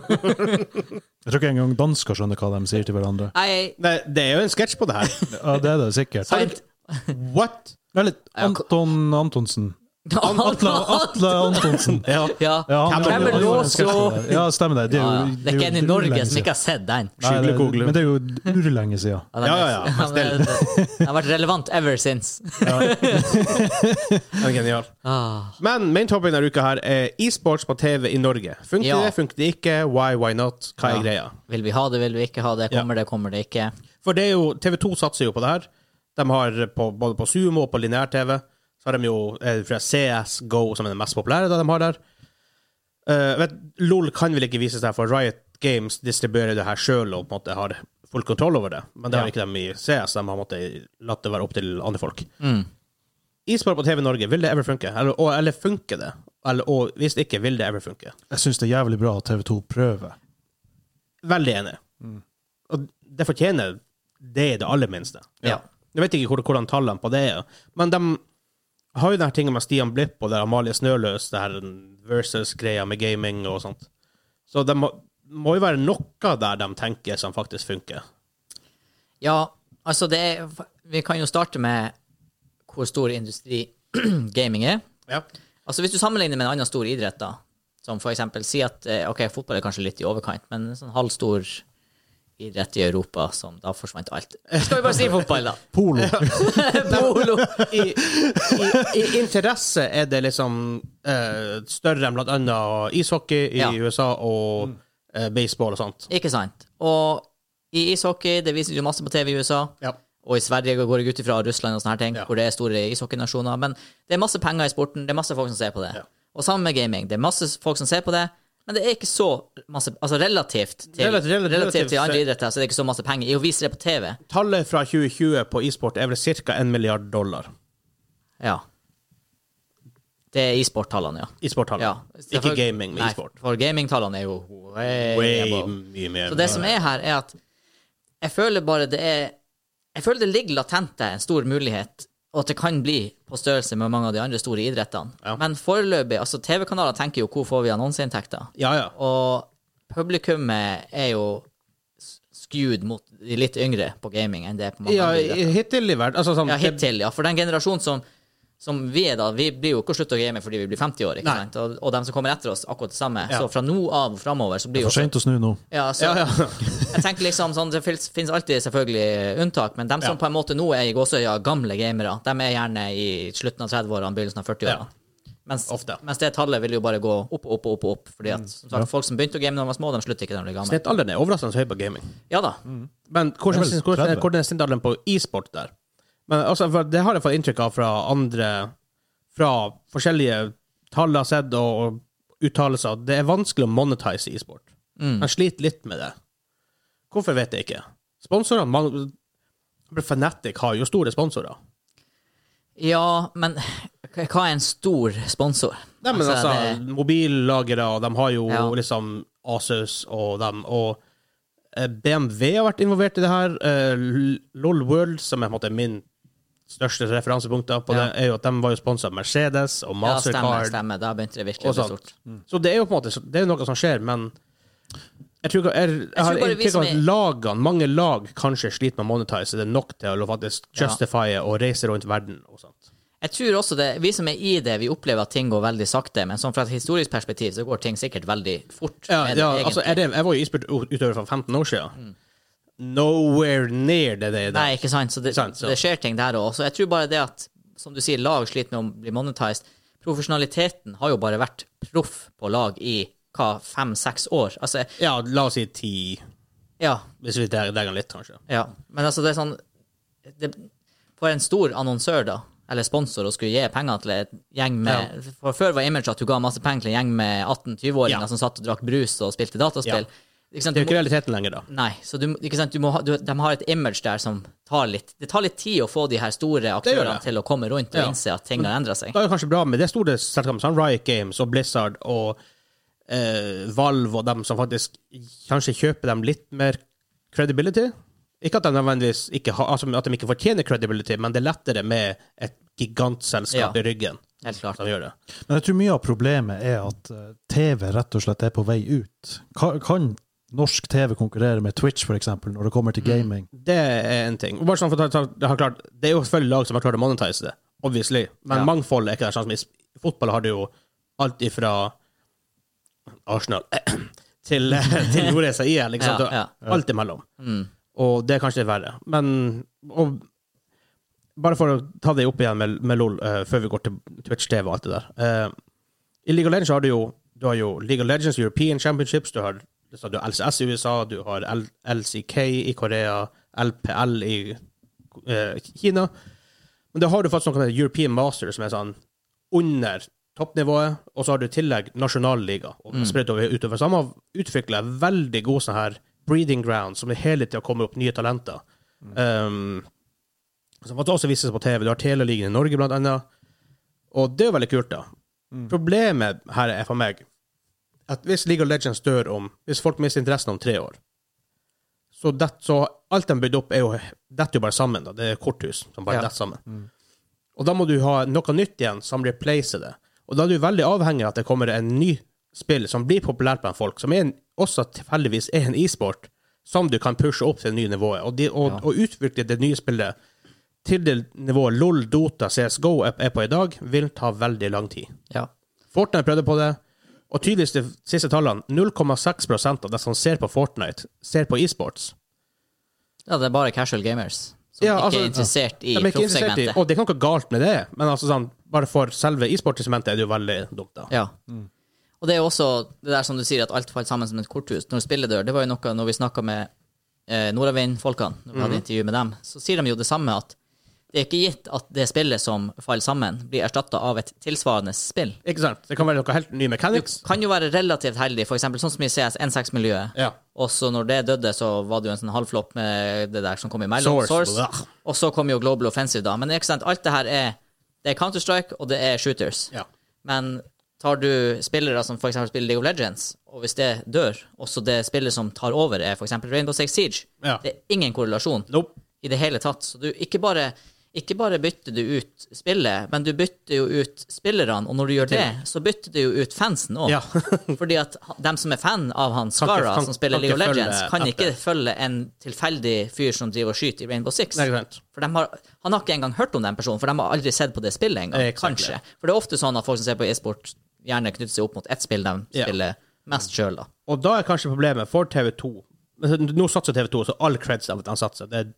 S3: Jeg tror ikke engang dansker skjønner hva de sier til hverandre.
S2: Nei,
S1: Nei, det er jo en sketsj på det her.
S3: Ja, det er det sikkert.
S2: sant.
S1: What?
S3: Eller Anton Antonsen. Atle, Atle Antonsen.
S1: Ja.
S2: Ja.
S3: Ja, han-
S1: Cameron
S3: han gjorde en
S2: Lawson.
S3: sketsj på det. Ja, stemmer det. Det er
S2: Ja,
S3: jo,
S2: ja. Det er ikke en i
S3: jo
S2: Norge
S3: urlenge
S2: som
S3: siden.
S2: ikke har sett den.
S3: Nei, det-
S1: Skyggekogle.
S3: Men det er jo urlenge siden.
S1: Ja,
S2: den er-
S1: ja, ja, men
S2: den er- Den har vært relevant ever since.
S1: Den er genial.
S2: Ah,
S1: Men main topic denne uka her er e-sports på TV i Norge. Funker
S2: Ja.
S1: det, funker det ikke? Why, why not? Hva er
S2: Ja.
S1: greia?
S2: vil vi ha det, vil vi ikke ha det? Kommer det, kommer det ikke?
S1: For det er jo, TV2 satser jo på det her. De har på, både på Sumo og på lineær-TV. Så har de jo eh, fra CS GO, som er den mest populære da de har der. Eh, vet, LOL kan vel ikke vises der, for Riot Games distribuerer det her sjøl og på en måte har full kontroll over det. Men det har
S2: Ja.
S1: ikke de i CS. De har måttet latt det være opp til andre folk. E-sport på TV Norge, vil det ever funke? Eller, og, eller funker det? Eller, og hvis ikke, vil det ever funke?
S3: Jeg syns det er jævlig bra at TV2 prøver.
S1: Veldig enig.
S2: Mm.
S1: Og det fortjener det i det aller minste.
S2: Ja.
S1: Jeg vet ikke hvor, hvordan tallene på det er, men de har jo den her tingen med Stian Blipp og det her Amalie Snøløs, det her versus-greia med gaming og sånt. Så det må, må jo være noe der de tenker som faktisk funker.
S2: Ja, altså det er- Vi kan jo starte med hvor stor industri gaming er.
S1: Ja.
S2: Altså Hvis du sammenligner med en annen stor idrett, da, som for eksempel si at eh, ok, fotball er kanskje litt i overkant, men en sånn halvstor idrett i Europa som da forsvant alt. Skal vi bare si fotball, da?
S3: Polo.
S2: Polo.
S1: I, i, I interesse er det liksom eh, større enn blant annet ishockey i
S2: Ja. Mm.
S1: USA og eh, baseball og sånt.
S2: Ikke sant? Og i ishockey, det vises jo masse på TV i USA.
S1: Ja.
S2: Og i Sverige går jeg ut ifra Russland og sånne her ting,
S1: Ja.
S2: hvor det er store ishockeynasjoner. Men det er masse penger i sporten, det er masse folk som ser på det.
S1: Ja.
S2: Og samme med gaming. Det er masse folk som ser på det, men det er ikke så masse Altså relativt til,
S1: Relativt- relativt-
S2: relativt til andre
S1: se-
S2: idretter, så det er ikke så masse penger i å vise det på TV.
S1: Tallet fra 2020 på e-sport er vel ca. 1 milliard dollar.
S2: Ja. Det er e-sport-tallene, ja.
S1: E-sport-tallet.
S2: ja.
S1: Ikke gaming, men
S2: Nei,
S1: e-sport.
S2: For gaming-tallene er jo way,
S1: Way
S2: above.
S1: mye mer.
S2: Så det som er her, er at jeg føler bare det er Jeg føler det ligger latent der en stor mulighet, og at det kan bli på størrelse med mange av de andre store idrettene.
S1: Ja.
S2: Men foreløpig Altså, TV-kanaler tenker jo 'hvor får vi annonseinntekter?'
S1: Ja, ja.
S2: Og publikummet er jo s- skewed mot de litt yngre på gaming enn det er på mange
S1: ja
S2: andre idretter.
S1: hittil i verden. Altså, sånn,
S2: Ja,
S1: det-
S2: hittil, ja. For den generasjonen som, som vi er da, vi blir jo ikke slutt å game fordi vi blir 50 år, ikke
S1: Nei.
S2: sant? Og, og de som kommer etter oss, akkurat det samme.
S1: Ja.
S2: Så fra nå av og framover så blir
S3: For
S2: jo
S3: sent å snu nå.
S2: ja, så,
S1: ja, ja.
S2: jeg tenker liksom sånn, Det fins finnes alltid selvfølgelig unntak, men dem
S1: Ja.
S2: som på en måte nå er i gåsøya gamle gamere, dem er gjerne i slutten av 30-årene, begynnelsen av 40-årene. Mens,
S1: Ofte. Mm.
S2: mens det tallet vil jo bare gå opp og opp og opp. og opp fordi at som sagt, folk som begynte å game da de var små, de slutter ikke når de blir gamle.
S1: Snittalderen er overraskende høy på gaming.
S2: Ja da.
S1: Men hvordan,
S3: Det er vel
S1: hvordan,
S3: 30.
S1: hvordan er snittalderen på e-sport der? Men altså, for Det har jeg fått inntrykk av fra andre Fra forskjellige tall jeg har sett og, og uttalelser. Det er vanskelig å monetize e-sport.
S2: Mm.
S1: Man sliter litt med det. Hvorfor vet jeg ikke. Sponsorene man, Fanatic har jo store sponsorer.
S2: Ja, men hva er en stor sponsor?
S1: Nei, men altså,
S2: det-
S1: Mobillagere, og de har jo
S2: Ja.
S1: liksom Asus og dem, og eh, BMW har vært involvert i det her. Eh, L- LOL World, som er på en måte min største referansepunkt da på
S2: Ja.
S1: det, er jo at de var jo sponsa av Mercedes og
S2: Ja, stemmer,
S1: Mastercard.
S2: stemmer. Mm. Da begynte det virkelig å
S1: og sånn.
S2: bli
S1: sånt.
S2: stort.
S1: Så det er jo på en måte så- det er jo noe som skjer, men jeg, tror, ikke- jeg, jeg,
S2: tror
S1: har
S2: bare vi
S1: inntrykk
S2: som
S1: av at
S2: er-
S1: lagene, mange lag kanskje sliter med å monetize det nok til å faktisk
S2: Ja.
S1: justify og reise rundt verden og sånt.
S2: Jeg tror også det, Vi som er i det, vi opplever at ting går veldig sakte, men sånn fra et historisk perspektiv så går ting sikkert veldig fort.
S1: Ja,
S2: med det,
S1: ja
S2: egentlig. Mm.
S1: altså, jeg, drev- jeg var jo isbjørnutøver for 15 år siden. Nowhere near det det er.
S2: Nei, ikke sant? Så det,
S1: Sant, så.
S2: det skjer ting der òg. Så jeg tror bare det at, som du sier, lag sliter med å bli monetized. Profesjonaliteten har jo bare vært proff på lag i hva, fem-seks år? Altså,
S1: Ja, la oss si 10,
S2: ja.
S1: hvis vi drar den litt, kanskje.
S2: Ja, men altså det er sånn det, For en stor annonsør, da, eller sponsor, å skulle gi penger til en gjeng med For Før var imaget at du ga masse penger til en gjeng med 18-20-åringer
S1: Ja.
S2: som satt og drakk brus og spilte dataspill.
S1: Ja.
S2: Ikke sant,
S1: Det er
S2: du
S1: jo ikke
S2: må,
S1: realiteten lenger, da.
S2: nei, så du, ikke sant, du må ha, du, de har et image der som tar litt Det tar litt tid å få de her store
S1: gjør
S2: aktørene
S1: det.
S2: til å komme rundt og
S1: Ja.
S2: innse at ting har endra seg.
S1: Da er det kanskje bra med det store selskapet, sånn Riot Games og Blizzard og eh, Valve og dem som faktisk kanskje kjøper dem litt mer credibility. Ikke at de nødvendigvis ikke har, altså at de ikke fortjener credibility, men det er lettere med et gigantselskap
S2: Ja.
S1: i ryggen
S2: Helt klart.
S1: som gjør det.
S3: Men jeg tror mye av problemet er at eh, TV rett og slett er på vei ut. Kan, kan norsk TV konkurrere med Twitch, for eksempel, når det kommer
S1: Mm.
S3: til gaming?
S1: Det er en ting. Og Bare sånn for å ta, ta, det, har klart, det er jo selvfølgelig lag som har klart å monetise det, obviously. Men
S2: Ja.
S1: mangfold er ikke der. Sånn som i s- i fotball har du jo alt ifra Arsenal til, til Nordreisa IL, liksom.
S2: Ja, Mm. ja.
S1: Alt imellom. Og det er kanskje litt verre. Men og, bare for å ta det opp igjen med, med LOL, eh, før vi går til Twitch-TV og alt det der. Eh, I League of Legends har du jo, du har jo League of Legends European Championships, du har, så du har LCS i USA, du har L LCK i Korea, LPL i eh, Kina. Men da har du faktisk noe som heter European Masters, som er sånn under toppnivået, og så har du i tillegg nasjonalliga, og spredt over utover. Så de har utvikla veldig god sånn her breeding ground, som er hele tida kommer opp nye talenter. Um, som faktisk også vises på TV. Du har Teleligaen i Norge, blant annet. Og det er jo veldig kult, da. Problemet her er for meg at hvis League of Legends dør om Hvis folk mister interessen om tre år, så, det, så alt de bygde opp, er jo detter jo bare sammen. da. Det er korthus som bare
S2: Ja.
S1: detter sammen. Og da må du ha noe nytt igjen som replacer det. Og da er du veldig avhengig av at det kommer en ny spill som blir populært blant folk, som er en, også tilfeldigvis er en e-sport, som du kan pushe opp til det nye nivået. Og, de, og, og utvikle det nye spillet til det nivået LOL, Dota, CSGO er er på i dag, vil ta veldig lang tid.
S2: Ja.
S1: Fortnite prøvde på det, og tydeligst de siste tallene 0,6 av de som ser på Fortnite, ser på e-sports.
S2: ja, det er bare casual gamers som
S1: Ja, altså,
S2: ikke er interessert i
S1: De er ikke interessert i,
S2: proffsegmentet.
S1: og det er ikke noe galt med det, men altså sånn, bare for selve e-sportsegmentet er det jo veldig dumt, da.
S2: Ja. Og det er jo også det der som du sier, at alt faller sammen som et korthus. Når spillet dør, det var jo noe når vi snakka med eh, Nordavind-folkene, når vi hadde intervju med dem, så sier de jo det samme, at Det er ikke gitt at det spillet som faller sammen, blir erstatta av et tilsvarende spill.
S1: Ikke sant? Det kan være noe helt ny mechanics.
S2: Kan jo være relativt heldig, f.eks. sånn som i CS 1.6-miljøet.
S1: Ja.
S2: Og så når det døde, så var det jo en sånn halvflopp med det der som kom imellom.
S1: Source, blah.
S2: Og så kom jo Global Offensive, da. Men ikke sant? alt det her er Det er Counter-Strike, og det er shooters.
S1: Ja.
S2: Men tar du spillere som f.eks. spiller League of Legends, og hvis det dør, også det spillet som tar over, er f.eks. Rainbow Six Siege,
S1: Ja.
S2: det er ingen korrelasjon
S1: Nope.
S2: i det hele tatt. Så du ikke bare, ikke bare bytter du ut spillet, men du bytter jo ut spillerne, og når du gjør det, så bytter du jo ut fansen òg.
S1: Ja.
S2: Fordi at ha- dem som er fan av han Skara,
S1: kan-
S2: som spiller
S1: kan
S2: League of
S1: ikke følge
S2: Legends, kan
S1: etter.
S2: ikke følge en tilfeldig fyr som driver og skyter i Rainbow Six.
S1: Nei, ikke sant.
S2: For de har, han har ikke engang hørt om den personen, for de har aldri sett på det spillet engang.
S1: Exactly.
S2: Kanskje. For det er ofte sånn at folk som ser på e-sport, gjerne knytter seg opp mot ett spill de
S1: Ja.
S2: spiller mest sjøl, da.
S1: Og da er kanskje problemet for TV2 Men Nå satser TV2, så all creds av at han satser. Det er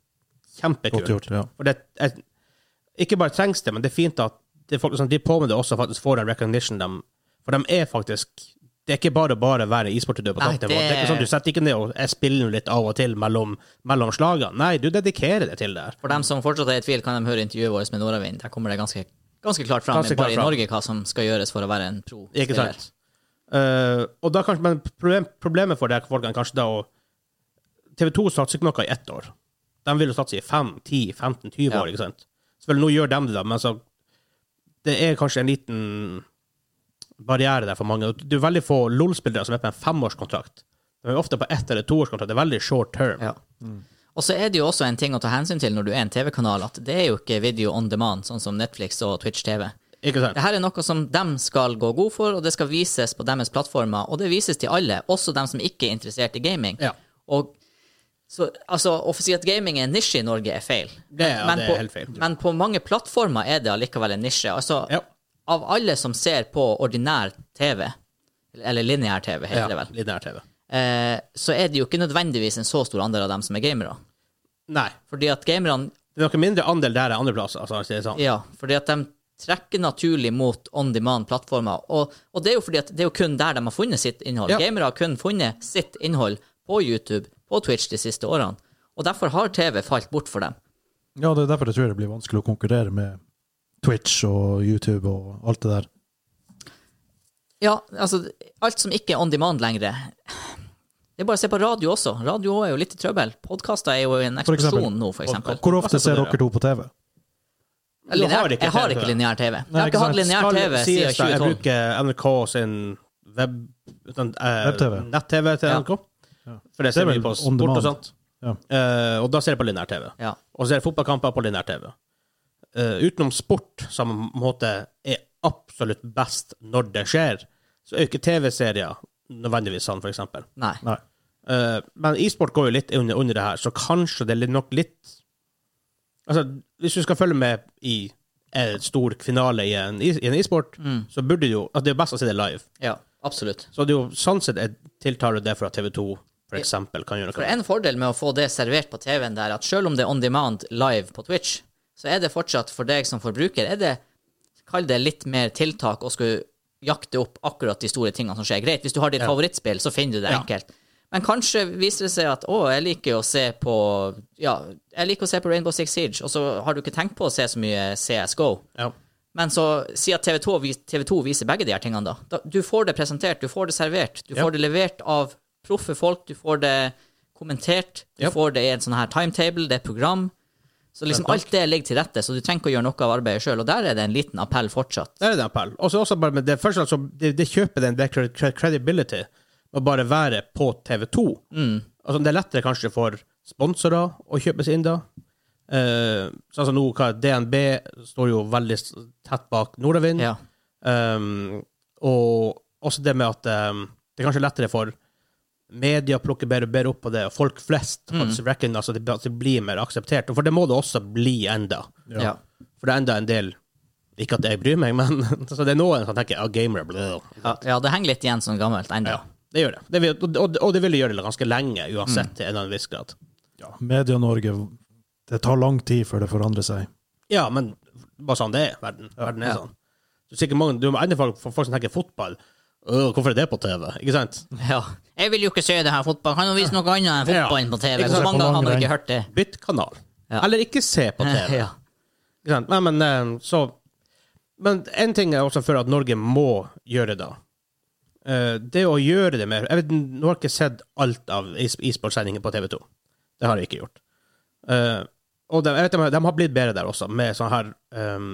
S1: kjempekult.
S3: Godt gjort, ja.
S1: For det er, ikke bare trengs det, men det er fint at det er folk som driver på med det, også faktisk får den recognition de For de er faktisk Det er ikke bare bare å være e-sportutøver på
S2: Nei,
S1: toppnivå. Det...
S2: det-
S1: er ikke sånn Du setter ikke ned og jeg spiller litt av og til mellom, mellom slagene. Nei, du dedikerer deg til det her.
S2: For dem som fortsatt er i tvil, kan de høre intervjuet vårt med Nordavind. Der kommer det ganske, ganske klart fram,
S1: Ganske klart
S2: bare i
S1: fram.
S2: Norge, hva som skal gjøres for å være en pro
S1: Ikke
S2: spiller.
S1: sant? Eh, og da kanskje, men problem, problemet for de her folkene er kanskje da å TV2 satser ikke noe i ett år. De vil jo satse i 5, 10, 15, 20
S2: Ja.
S1: år, ikke sant? Selvfølgelig, nå gjør de det, da, men altså Det er kanskje en liten barriere der for mange. Det er veldig få LOL-spillere som er på en femårskontrakt. De er ofte på ett- eller toårskontrakt. Det er veldig short term.
S2: Ja. Og så er det jo også en ting å ta hensyn til når du er en TV-kanal, at det er jo ikke video on demand, sånn som Netflix og Twitch TV.
S1: Ikke sant?
S2: Det her er noe som dem skal gå god for, og det skal vises på deres plattformer, og det vises til alle, også dem som ikke er interessert i gaming.
S1: Ja.
S2: Og så, altså, å si at gaming er en nisje i Norge, er feil.
S1: Det er- ja, det er
S2: på,
S1: helt feil.
S2: Men på mange plattformer er det allikevel en nisje. Altså,
S1: Ja.
S2: av alle som ser på ordinær TV, eller lineær TV, heter det
S1: Ja,
S2: vel,
S1: Lineær-TV.
S2: eh, så er det jo ikke nødvendigvis en så stor andel av dem som er gamere.
S1: Nei.
S2: Fordi at gamerne
S1: Det er noe mindre andel der enn andre plasser. Altså, for å si det sånn.
S2: Ja, fordi at de trekker naturlig mot on demand-plattformer. Og, og det er jo fordi at det er jo kun der de har funnet sitt innhold.
S1: Ja.
S2: Gamere har kun funnet sitt innhold på YouTube, på Twitch, de siste årene. Og derfor har TV falt bort for dem.
S3: Ja, det er derfor jeg tror det blir vanskelig å konkurrere med Twitch og YouTube og alt det der.
S2: Ja, altså, alt som ikke er on demand lenger Det er bare å se på radio også. Radio er jo litt i trøbbel. Podkaster er jo i en
S3: For eksempel.
S2: eksplosjon nå, for eksempel.
S3: Hvor ofte
S1: Hva sa
S3: ser
S1: du,
S3: dere to på TV?
S1: Du har
S2: Lineær-
S1: ikke
S2: jeg har
S1: TV.
S2: ikke lineær TV. Jeg
S3: Nei,
S2: har
S3: ikke
S2: ikke hatt
S3: sant.
S2: lineær
S1: Skal
S2: TV
S1: sies
S2: siden
S1: da, Jeg
S2: 2012.
S1: bruker NRK sin web, utan, eh,
S3: Web-TV.
S1: nett-TV til
S2: Ja.
S1: NRK.
S3: Ja.
S1: For det
S3: Det er
S1: ser vi
S3: vel
S1: på
S3: on
S1: sport
S3: demand.
S1: og sånt.
S3: Ja.
S1: Eh, og da ser jeg på lineær-TV.
S2: Ja.
S1: Og så ser jeg fotballkamper på lineær-TV. Eh, utenom sport, som på en måte er absolutt best når det skjer, så er jo ikke TV-serier nødvendigvis sånn, for eksempel.
S2: Nei.
S3: Nei.
S1: Eh, men e-sport går jo litt under, under det her, så kanskje det er litt- nok litt Altså, hvis du skal følge med i en stor finale i en i- i en e-sport, så burde du jo altså, Det er jo best å se det live.
S2: Ja, absolutt.
S1: Så det er jo sånn sett jeg tiltar det for at TV2 for eksempel kan gjøre
S2: For
S1: noe.
S2: en fordel med å få det servert på TV-en der, at selv om det er on demand live på Twitch, så er det fortsatt for deg som forbruker, er det, kall det litt mer tiltak å skulle jakte opp akkurat de store tingene som skjer. Greit, hvis du har ditt favorittspill, så finner du det
S1: Ja.
S2: enkelt. Men kanskje viser det seg at å, jeg liker å se på ja, jeg liker å se på Rainbow Six Siege, og så har du ikke tenkt på å se så mye CSGO.
S1: Ja.
S2: Men så si at TV 2, viser begge de her tingene, da. da. Du får det presentert, du får det servert, du
S1: Ja.
S2: får det levert av proffe folk, du får det kommentert, du
S1: Ja.
S2: får det i en sånn her timetable, det er et program. Så liksom alt det ligger til rette, så du trenger ikke å gjøre noe av arbeidet sjøl. Og der er det en liten appell fortsatt.
S1: Der er det en appell. Og så også bare med det første, altså, det, det kjøper den der cred- cred- credibility med å bare være på TV2.
S2: Mm.
S1: Altså, det er lettere kanskje for sponsorer å kjøpe seg inn da. Eh, så altså nå, hva, DNB står jo veldig s- tett bak Nordavind.
S2: Ja.
S1: Um, og også det med at um, det er kanskje lettere for media å plukke bedre og bedre opp på det, og folk flest
S2: Mm.
S1: faktisk recognize at det, at det blir mer akseptert. Og For det må det også bli enda.
S2: Ja.
S1: For det er enda en del Ikke at jeg bryr meg, men så det er noen som tenker ah, gamere blah.
S2: Ja. det henger litt igjen sånn gammelt ennå.
S1: Ja, det gjør det. det vil, og, og, og det vil gjøre det ganske lenge, uansett,
S2: Mm.
S1: til en eller annen viss grad.
S3: Ja, Media-Norge, det tar lang tid før det forandrer seg.
S1: Ja, men bare sånn det er. Verden, verden er
S2: Ja.
S1: sånn. Du, er sikkert mange, du må enda folk, folk som tenker fotball. Øh, hvorfor er det på TV? Ikke sant?
S2: Ja. Jeg vil jo ikke se det her fotball. Kan jo vise noe annet enn fotballen på TV.
S1: Ikke
S2: Hvor
S1: sant?
S2: mange ganger
S3: På
S2: har man
S3: langrenn.
S2: ikke hørt det?
S1: Bytt kanal.
S2: Ja.
S1: Eller ikke se på TV.
S2: ja.
S1: Ikke sant? Nei, men eh, så Men én ting jeg også føler at Norge må gjøre da. Eh, Det å gjøre det mer Jeg vet, Nå har jeg ikke sett alt av is isballsendinger på TV2. Det har jeg ikke gjort. Eh, og de, jeg vet, de, de har blitt bedre der også, med sånn her ehm,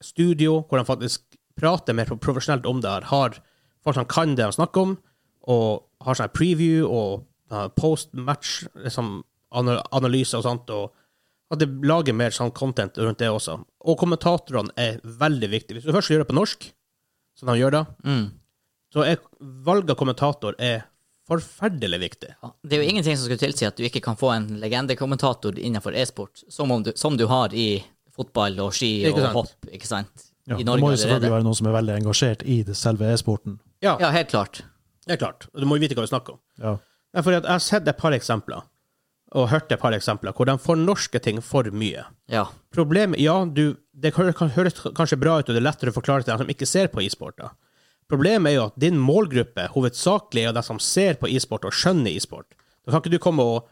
S1: studio, hvor de faktisk prater mer profesjonelt om det her. Har folk som kan det de snakker om, og har sånn her preview og eh, post-match, liksom ana- analyse og sånt, og at de lager mer sånn content rundt det også. Og kommentatorene er veldig viktige. Hvis du først gjør det på norsk, som de gjør da,
S2: Mm.
S1: så er valg av kommentator er forferdelig viktig.
S2: Ja, Det er jo ingenting som skulle tilsi at du ikke kan få en legendekommentator innenfor e-sport, som, om du- som du har i fotball og ski
S1: Ikke
S2: og
S1: sant?
S2: hopp, ikke sant?
S3: Ja,
S2: I
S3: det
S2: Norge
S3: må jo
S2: allerede.
S3: selvfølgelig være noen som er veldig engasjert i det selve e-sporten.
S1: Ja,
S2: Ja, helt klart.
S1: det er klart. Du må jo vite hva vi snakker om.
S3: Ja.
S1: Ja, fordi at jeg har sett et par eksempler, og hørt et par eksempler, hvor de fornorsker ting for mye.
S2: Ja.
S1: Problemet, ja, du, det kan, kan høres kanskje bra ut, og det er lettere å forklare til dem som ikke ser på e-sport. da. Problemet er jo at din målgruppe hovedsakelig er jo de som ser på e-sport og skjønner e-sport. Da kan ikke du komme og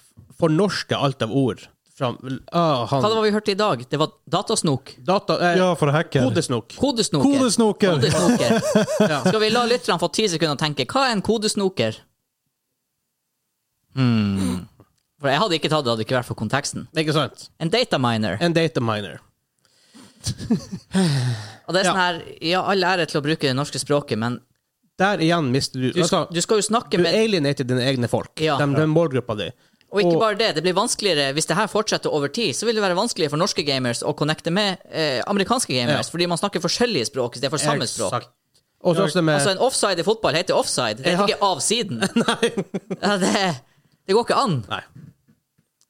S1: f- fornorske alt av ord. Fra, ah,
S2: Hva det
S1: han,
S2: var vi hørte i dag? Det var datasnok.
S1: data, eh,
S3: ja, for hacker.
S1: Kodesnok.
S2: Kodesnoker.
S3: Kodesnoker.
S2: Kodesnoker.
S1: Ja.
S2: Skal vi la lytterne få ti sekunder å tenke, hva er en kodesnoker? Hmm. For jeg hadde ikke tatt det, hadde det ikke vært for konteksten.
S1: Ikke sant?
S2: En dataminer.
S1: En dataminer.
S2: Og det er sånn her, ja, all ære til å bruke det norske språket, men
S1: Der igjen mister du
S2: du,
S1: altså,
S2: du skal jo snakke
S1: Du
S2: med
S1: alienater dine egne folk.
S2: Ja.
S1: Den, den målgruppa di.
S2: Og ikke
S1: Og-
S2: bare det, det blir vanskeligere hvis det her fortsetter over tid, så vil det være vanskeligere for norske gamers å connecte med eh, amerikanske gamers, fordi man snakker forskjellige språk istedenfor samme språk.
S1: Exakt. Og så også det med
S2: Altså, en offside i fotball heter offside, det
S1: Ja.
S2: heter ikke av siden. Ja, det, det går ikke an.
S1: Nei.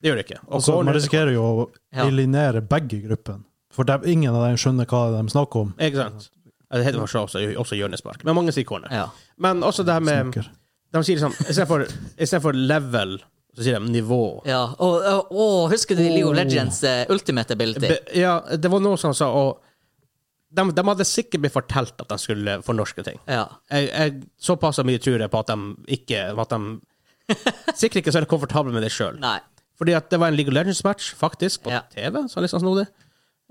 S1: Det gjør det ikke. Og
S3: Altså, man
S1: corner-
S3: risikerer jo å
S2: Ja.
S3: eliminere begge i gruppen. For de, ingen av dem skjønner hva de snakker om.
S1: Ikke sant? Ja, Det heter kanskje også, også hjørnespark, men mange sier corner.
S2: Ja.
S1: Men også det her med
S3: Snakker.
S1: De sier liksom I stedet for, i stedet for level, så sier de nivå.
S2: ja. Og, og, og husker du League of Legends eh, ultimate ability?
S1: Be, ja, det var noen som sa og de, de hadde sikkert blitt fortalt at de skulle fornorske ting.
S2: Ja.
S1: Jeg, jeg, såpass mye tror jeg på at de ikke at de Sikkert ikke så er de komfortable med det sjøl.
S2: Nei.
S1: Fordi at det var en League of Legends-match, faktisk, på
S2: Ja.
S1: TV, så litt sånn snodig.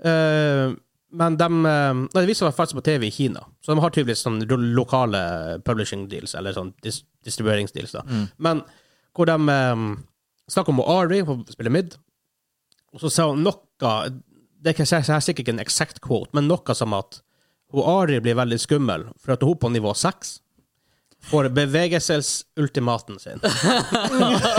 S1: Eh, men de eh, nei, Det viser seg faktisk på TV i Kina, så de har tydeligvis sånn lo- lokale publishing deals, eller sånn dis distribueringsdeals, da. Men hvor de eh, snakker om Ari, hun spiller mid, og så sa hun noe Det er ikke- jeg har sikkert ikke en exact quote, men noe som at hun Ari blir veldig skummel, for at hun på nivå seks får bevegelsesultimaten sin.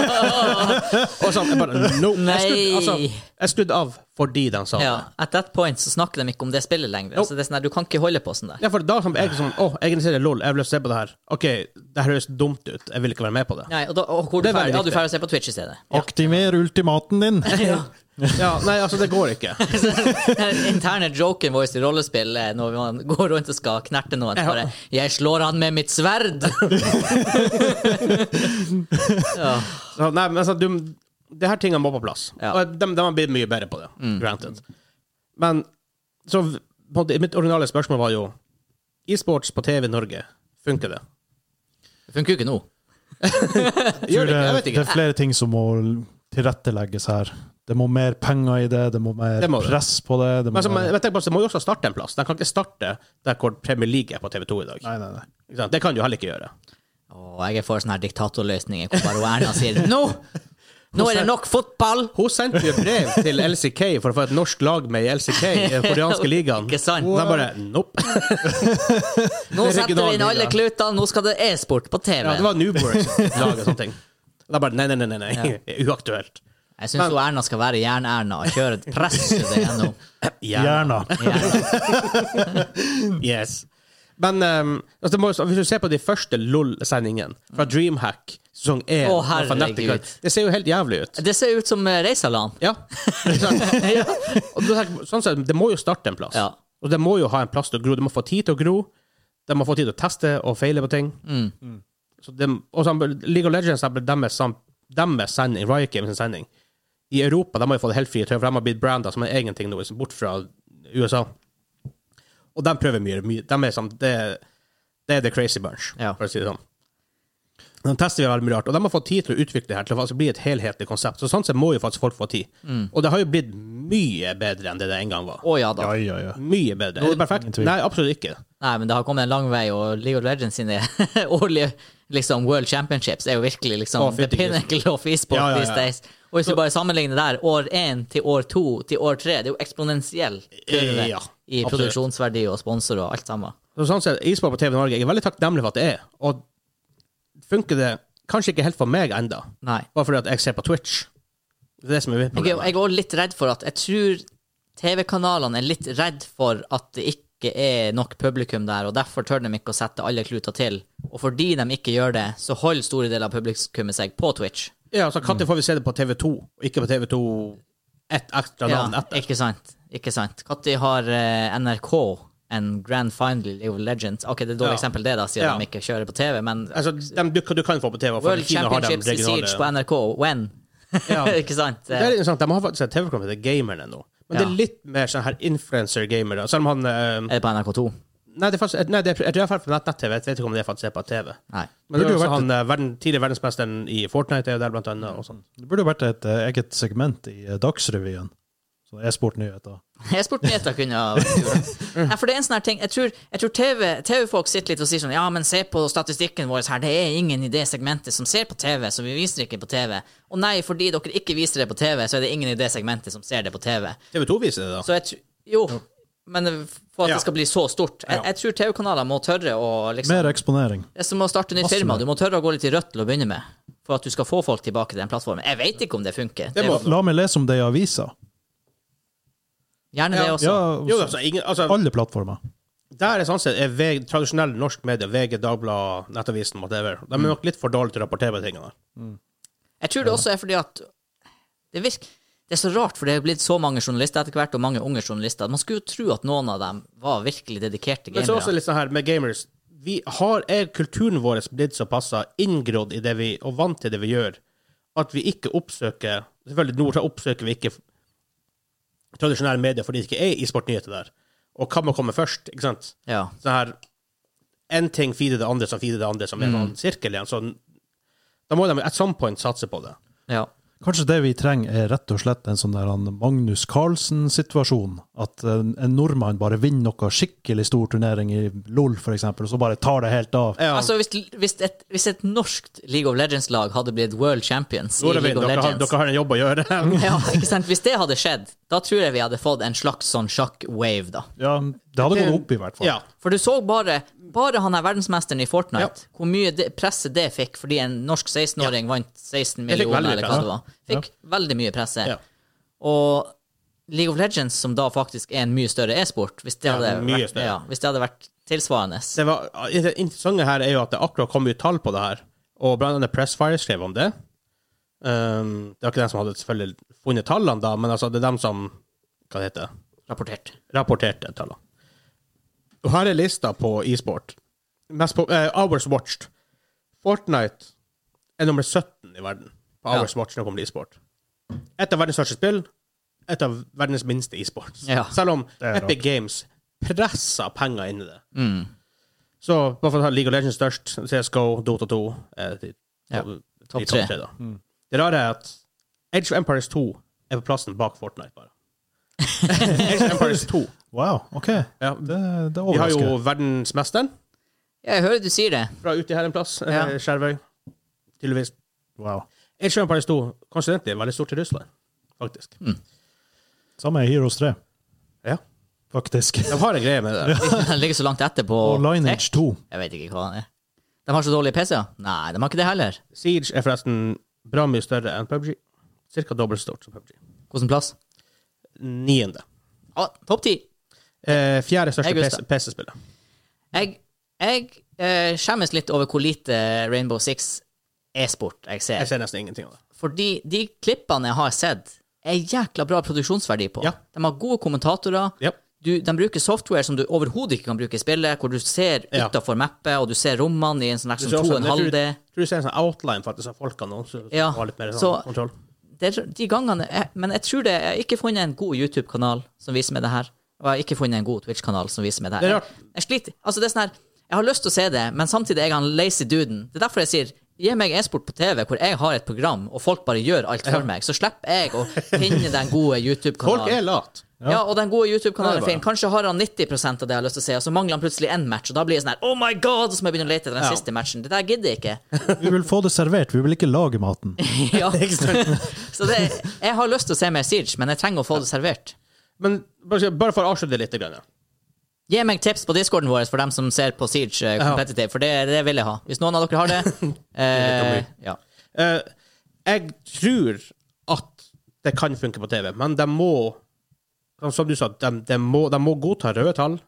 S1: Og sånn, jeg bare, no. Jeg
S2: Nei.
S1: skrudde, altså, jeg skrudde av fordi den sa
S2: Ja.
S1: det.
S2: At that point så snakker de ikke om det spillet lenger.
S1: Nope.
S2: Så det er sånn her, du kan ikke holde på sånn der.
S1: Ja, for da som jeg sånn, åh, jeg interesserer LOL, jeg vil se på det her. Ok, det her høres dumt ut, jeg vil ikke være med på det.
S2: Nei, og, da, og hvor
S1: Det
S2: du
S1: er veldig
S2: ferdig, ja, du
S1: viktig.
S2: ferdig å se på Twitch i stedet.
S3: Aktiver ultimaten din!
S1: Ja, nei, altså, det går ikke.
S2: Den interne joken vår i rollespill er når man går rundt og skal knerte noen. så Bare, 'Jeg slår han med mitt sverd'! ja.
S1: Så, nei, men altså, du, det her tingene må på plass.
S2: Ja.
S1: Og de, de har blitt mye bedre på det, granted. Men, så, på en måte, mitt originale spørsmål var jo, e-sports på TV i Norge, funker det?
S2: Det funker jo ikke nå.
S1: Gjør det
S3: tror det,
S1: ikke, jeg vet
S3: det
S1: ikke.
S3: er flere ting som må tilrettelegges her. Det må mer penger i det, det må mer
S1: Det må det.
S3: press på det. det
S1: Men,
S3: må
S1: altså, men,
S3: mer-
S1: men tenk på, at det må jo også starte en plass. Den kan ikke starte der hvor Premier League er på TV2 i dag.
S3: Nei, nei, nei.
S1: Ikke sant? Det kan du heller ikke gjøre.
S2: Og jeg er for sånne her diktatorløsninger hvor bare Erna sier 'Nå! Nå er det nok fotball!'
S1: Hun sendte jo brev til LCK for å få et norsk lag med i LCK, i den eh, koreanske ligaen.
S2: Ikke sant?
S1: De bare nope.
S2: Nå
S1: Det er
S2: setter vi inn
S1: regionalliga.
S2: alle klutene, nå skal det e-sport på TV.
S1: Ja, det var Newborgs-lag og sånne ting. De bare nei, nei, nei, nei, nei. uaktuelt.
S2: Jeg syns Erna skal være Jern-Erna og kjøre et press det gjennom.
S1: Ja.
S3: Gjerne.
S2: Jern.
S1: Yes. Men ehm, altså, det må, jo så- hvis du ser på de første LOL-sendingene fra Dreamhack sesong 1
S2: Mm. Å,
S1: med Fnatic,
S2: herregud.
S1: Det ser jo helt jævlig ut.
S2: Det ser ut som eh, Reisaland.
S1: Ja. Ikke sant? Og da tenker jeg, sånn sett, det må jo starte en plass.
S2: Ja.
S1: Og det må jo ha en plass til å gro. Det må få tid til å gro. De må få tid til å teste og feile på ting.
S2: Mm.
S1: Så det, og så, League of Legends eksempel, deres, sam- deres sending, Riot Games' sin sending I Europa de har jo fått helt frie tøy, for de har blitt branda som en egen ting nå, liksom, bort fra USA. Og de prøver mye. mye de er sånn, det, det er the crazy bunch,
S2: Ja.
S1: for å si det sånn. De tester veldig mye rart,
S2: Mm.
S1: og de har fått tid til å utvikle det her til å faktisk bli et helhetlig konsept. Så sånn sett må jo faktisk folk få tid. Og det har jo blitt mye bedre enn det det en gang var.
S2: Å ja da.
S3: Ja, ja, ja.
S1: Mye bedre. Er det
S3: Ingen
S1: perfekt?
S3: tvil.
S1: Nei, absolutt ikke.
S2: Nei, men det har kommet en lang vei, og League of Legends sine årlige liksom, World Championships er jo virkelig liksom
S1: Å,
S2: the
S1: fytti grisen.
S2: pinnacle of e-sport
S1: Ja, ja, ja.
S2: these days. Og hvis du bare sammenligner der, år én til år to til år tre, det er jo eksponentiell kurve
S1: Eh, ja,
S2: i
S1: absolutt.
S2: produksjonsverdi og sponsorer og alt sammen.
S1: Så sånn sett, e-sport på TV Norge, jeg er veldig takknemlig for at det er. Og funker det kanskje ikke helt for meg enda,
S2: Nei.
S1: bare fordi at jeg ser på Twitch. Det er det som er mitt
S2: Jeg,
S1: problem.
S2: er- jeg er også litt redd for at Jeg tror TV-kanalene er litt redd for at det ikke er nok publikum der, og derfor tør de ikke å sette alle kluter til. Og fordi de ikke gjør det, så holder store deler av publikummet seg på Twitch.
S1: Ja, så
S2: Mm.
S1: Når får vi se det på TV2, og ikke på TV2 ett ekstra navn etter?
S2: Ikke sant. Ikke sant. Når har eh, NRK en grand final i League of Legends? Ok, det er et dårlig
S1: Ja.
S2: eksempel, det, da, siden
S1: Ja.
S2: de ikke kjører på TV, men
S1: Altså, dem du, du kan få på TV, for
S2: World
S1: i Kina har de
S2: Championships i Siege på
S1: regionale
S2: NRK, when?
S1: Ja.
S2: ikke sant?
S1: Det er litt interessant, De har faktisk et TV-program som heter Gamerne nå. Men det
S2: Ja.
S1: er litt mer sånn her influencer-gamere. Selv om han eh,
S2: Er det på NRK2?
S1: Nei, det er faktisk, eh, nei, det er, jeg tror jeg er ferdig på nett-TV. Jeg vet ikke om det er faktisk er på TV.
S2: Nei.
S1: Men det
S3: Burde
S1: er
S3: jo
S1: også
S3: vært
S1: han eh, verden, tidligere verdensmesteren i Fortnite er jo der, blant annet. Og sånn.
S3: Det burde jo vært et eh, eget segment i eh, Dagsrevyen. Sånn e-sportnyheter.
S2: E-sportnyheter kunne ha
S1: Mm.
S2: Nei, for det er en sånn her ting Jeg tror, jeg tror TV, TV-folk sitter litt og sier sånn Ja, men se på statistikken vår her, det er ingen i det segmentet som ser på TV, så vi viser det ikke på TV. Og nei, fordi dere ikke viser det på TV, så er det ingen i det segmentet som ser det på TV.
S1: TV2 viser det, da.
S2: Så jeg tror Jo, men for at
S1: Ja.
S2: det skal bli så stort. Jeg,
S1: Ja.
S2: jeg tror TV-kanaler må tørre å liksom
S3: Mer eksponering.
S2: Det er som å starte nytt
S3: Masse
S2: firma.
S3: mer.
S2: Du må tørre å gå litt i rødt til å begynne med. For at du skal få folk tilbake til den plattformen. Jeg vet ikke om det funker.
S1: Det
S2: Det
S1: må-
S2: er-
S3: La meg lese om det i avisa.
S2: gjerne det
S1: Ja.
S2: også.
S3: Ja,
S1: jo, altså, ingen, altså,
S3: alle plattformer.
S1: der er sånn sett er VG, tradisjonell norsk medie, VG, Dagbladet, Nettavisen, whatever. De er nok litt for dårlige til å rapportere tingene.
S2: Jeg tror det også er fordi at det, virk, det er så rart, for det er blitt så mange journalister etter hvert, og mange unge journalister. Man skulle jo tro at noen av dem var virkelig dedikerte
S1: Men så er det også
S2: gamere.
S1: litt sånn her med gamers vi har, Er kulturen vår blitt såpass inngrodd i det vi, og vant til det vi gjør, at vi ikke oppsøker Selvfølgelig, nå så oppsøker vi ikke tradisjonelle medier fordi det ikke er e-sportnyheter der. Og hva må komme først? ikke sant?
S2: Ja.
S1: Sånn her Én ting feeder det andre som feeder det andre,
S2: Mm.
S1: som er en sirkel igjen. Så da må de at some point satse på det.
S2: ja.
S3: Kanskje det vi trenger, er rett og slett en sånn der han Magnus Carlsen-situasjon. At en, en nordmann bare vinner noe skikkelig stor turnering i LOL, for eksempel, og så bare tar det helt av.
S1: Ja.
S2: Altså, hvis, hvis, et, hvis et norskt League of Legends-lag hadde blitt world champions i
S1: Nordavind,
S2: League of
S1: dere, har,
S2: Legends
S1: dere har en jobb å gjøre.
S2: ja, ikke sant? Hvis det hadde skjedd, da tror jeg vi hadde fått en slags sånn sjakk-wave, da.
S3: Ja, det hadde gått opp, i hvert fall.
S1: ja.
S2: For du så bare bare han her verdensmesteren i Fortnite,
S1: Ja.
S2: hvor mye det, presse det fikk fordi en norsk 16-åring vant
S1: fikk
S2: 16 millioner,
S1: veldig
S2: eller
S1: mye
S2: hva det var. Fikk veldig mye presse.
S1: Ja.
S2: Og League of Legends, som da faktisk er en mye større e-sport, hvis, det hadde
S1: mye
S2: vært-
S1: større.
S2: ja, hvis det hadde vært tilsvarende
S1: det, var, det interessante her er jo at det akkurat kom ut tall på det her, og blant annet Pressfire skrev om det. Um, det var ikke den som hadde selvfølgelig funnet tallene, da, men altså det er dem som hva det heter,
S2: rapportert.
S1: rapporterte tallene. Og her er lista på e-sport. Mest på, eh, hours watched. Fortnite er nummer 17 i verden på
S2: Ja.
S1: hours watched når det kommer til e-sport. Et av verdens største spill, et av verdens minste e-sports.
S2: Ja.
S1: Selv om
S3: er rart.
S1: Epic Games presser penger inn i det.
S2: Mm.
S1: Så bare for å ta League of Legends størst, CSGO, Dota 2 eh, de,
S2: Ja,
S1: de,
S2: topp
S1: de
S2: tre.
S1: da. Det rare er at Age of Empires 2 er på plassen bak Fortnite, bare. Age of Empires 2.
S3: Wow, OK.
S1: Ja,
S3: Det, det
S1: vi har
S3: overrasker.
S1: jo verdensmesteren
S2: Ja, jeg hører du sier det.
S1: fra uti her en plass,
S2: Ja.
S1: eh, Skjervøy. Tydeligvis.
S3: Wow.
S1: Age of Empires 2 kanskje den er veldig stor til Russland, faktisk.
S2: Mm.
S3: Samme er Heroes 3,
S1: Ja.
S3: faktisk.
S1: De har en greie med det.
S2: Den ligger så langt etter på
S3: Og
S2: tech.
S3: Lineage 2.
S2: Jeg vet ikke hva den er. De har så dårlige PC-er? Nei, de har ikke det heller.
S1: Siege er forresten bra mye større enn PubG. Cirka dobbelt så stort som PubG.
S2: Hvilken plass?
S1: Niende.
S2: Å, topp ti!
S1: Eh, fjerde
S2: Jeg
S1: største
S2: husker.
S1: PC-spillet.
S2: Jeg, jeg eh, skjemmes litt over hvor lite Rainbow Six e-sport
S1: Jeg
S2: jeg ser.
S1: ser nesten ingenting av det.
S2: Fordi de klippene jeg har sett, er jækla bra produksjonsverdi på.
S1: Ja.
S2: De har gode kommentatorer.
S1: Ja.
S2: Du, de bruker software som du overhodet ikke kan bruke i spillet, hvor du ser
S1: Ja.
S2: utafor mappet, og du ser rommene i en sånn
S1: Du
S2: liksom
S1: ser også- jeg
S2: 2,5D.
S1: Tror, tror du ser en sånn outline faktisk av folkene nå, så
S2: Ja,
S1: ja. har litt mer sånn
S2: så-
S1: kontroll?
S2: Det er De gangene jeg, Men jeg tror det Jeg har ikke funnet en god YouTube-kanal som viser meg det her. Og jeg har ikke funnet en god Twitch-kanal som viser meg det her.
S1: Det er rart.
S2: Jeg, jeg sliter. Altså, det er sånn her Jeg har lyst til å se det, men samtidig er jeg han lazy duden. Det er derfor jeg sier Gi meg e-sport på TV hvor jeg har et program, og folk bare gjør alt for meg. Så slipper jeg å finne den gode
S1: Folk
S2: YouTube-kanalen.
S1: er late.
S2: Ja. og den gode
S1: Nei,
S2: YouTube-kanalen er
S1: bare.
S2: fin. Kanskje har han 90 av det jeg har lyst til å se, og så mangler han plutselig én match, og da blir jeg sånn her Oh my god! Så må jeg begynne å lete etter den
S1: Ja.
S2: siste matchen. Det der gidder jeg ikke.
S3: Vi vil få det servert, vi vil ikke lage maten.
S2: ja. så det, jeg har lyst til å se mer Siege, men jeg trenger å få det servert.
S1: Men bare bare for å avslutte det litt. Grann, ja.
S2: Gi meg tips på discorden vår for dem som ser på Siege eh, competitive, for det, det vil jeg ha. Hvis noen av dere har det. Eh, ja.
S1: Eh, jeg tror at det kan funke på TV, men de må sånn Som du sa, de, de, må, de må godta røde tall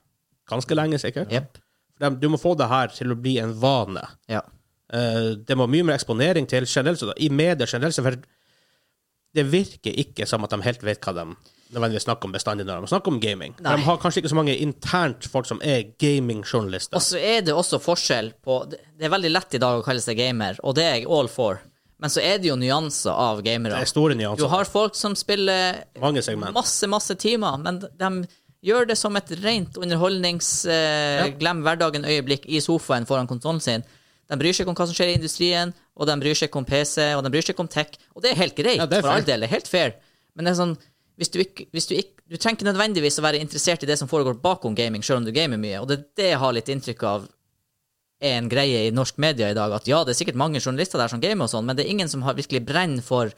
S1: ganske lenge, sikkert.
S2: Jepp.
S1: De, du må få det her til å bli en vane.
S2: Ja.
S1: Eh, det må mye mer eksponering til generelt, så da, i medier generelt, så for det virker ikke som at de helt vet hva de nødvendigvis snakker om bestandig når de snakker om gaming.
S2: Nei.
S1: De har kanskje ikke så mange internt folk som er gamingjournalister.
S2: Og så er det også forskjell på Det det er veldig lett i dag å kalle seg gamer, og det er jeg all for. Men så er det jo nyanser av gamere.
S1: Det er store
S2: Du
S1: nyanser.
S2: har folk som spiller
S1: Mange segment.
S2: masse, masse timer, men de gjør det som et rent underholdnings... Eh, Glem hverdagen-øyeblikk i sofaen foran konsollen sin. De bryr seg ikke om hva som skjer i industrien, og de bryr seg ikke om PC, og de bryr seg ikke om tech. Og det er helt greit,
S1: Ja, det er
S2: for all
S1: fair.
S2: del. Det er helt fair. Men det er sånn hvis du, ikke, hvis du ikke Du trenger ikke nødvendigvis å være interessert i det som foregår bakom gaming, selv om du gamer mye, og det er det jeg har litt inntrykk av er en greie i norsk media i dag. At ja, det er sikkert mange journalister der som gamer og sånn, men det er ingen som har virkelig brenner for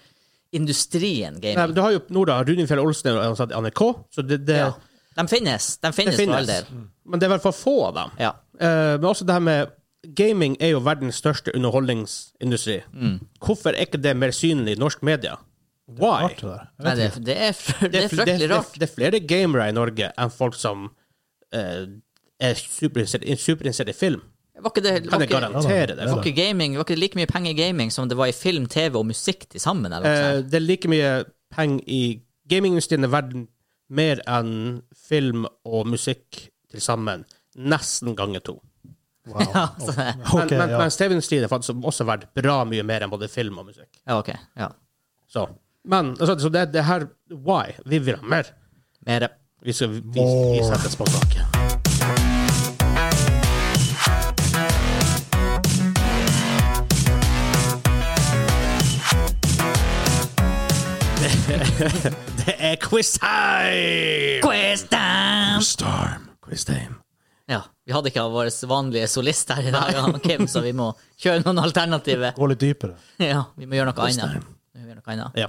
S2: industrien
S1: Nei,
S2: gaming.
S1: men du har jo Norda Runefjell Olsen er jo ansatt i NRK, så det, det,
S2: ja. De finnes. De
S1: det
S2: finnes, for all
S1: finnes.
S2: del.
S3: Mm.
S1: Men det er i hvert fall få av dem.
S2: Ja.
S1: Eh, men også det her med Gaming er jo verdens største underholdningsindustri.
S2: Mm.
S1: Hvorfor er ikke det mer synlig i norsk media? Why?
S3: Rart det der. Jeg
S2: Nei,
S3: vet
S2: det, det, er, fr- det er
S1: fl- det-
S2: fryktelig rart.
S1: Det, det er flere gamere i Norge enn folk som eh, er superinteressert superinteressert i film.
S2: Var ikke det
S1: Kan
S2: var
S1: jeg
S2: ikke,
S1: garantere det?
S2: var ikke gaming, var ikke det like mye penger i gaming som det var i film, TV og musikk til sammen? Eller noe
S1: Eh,
S2: sånt?
S1: det er like mye penger i gamingindustrien i verden mer enn film og musikk til sammen. Nesten ganger to.
S3: Wow.
S2: Eh,
S1: Men,
S3: Ok,
S1: men,
S3: ja.
S1: men TV-industrien er faktisk også verdt bra mye mer enn både film og musikk.
S2: Ja, ok. Ja.
S1: Så, men altså, så det, det her Why? Vi vil ha mer.
S2: Mere.
S1: Vi skal vi, vi settes på saken. Det er quiz time!
S2: Quiz time!
S3: Storm.
S1: Quiz time.
S2: Ja, vi hadde ikke vår vanlige solist her i dag, han Kim, så vi må kjøre noen alternative.
S3: Gå litt dypere.
S2: Ja, vi må gjøre noe annet. Vi må gjøre noe annet.
S1: Ja.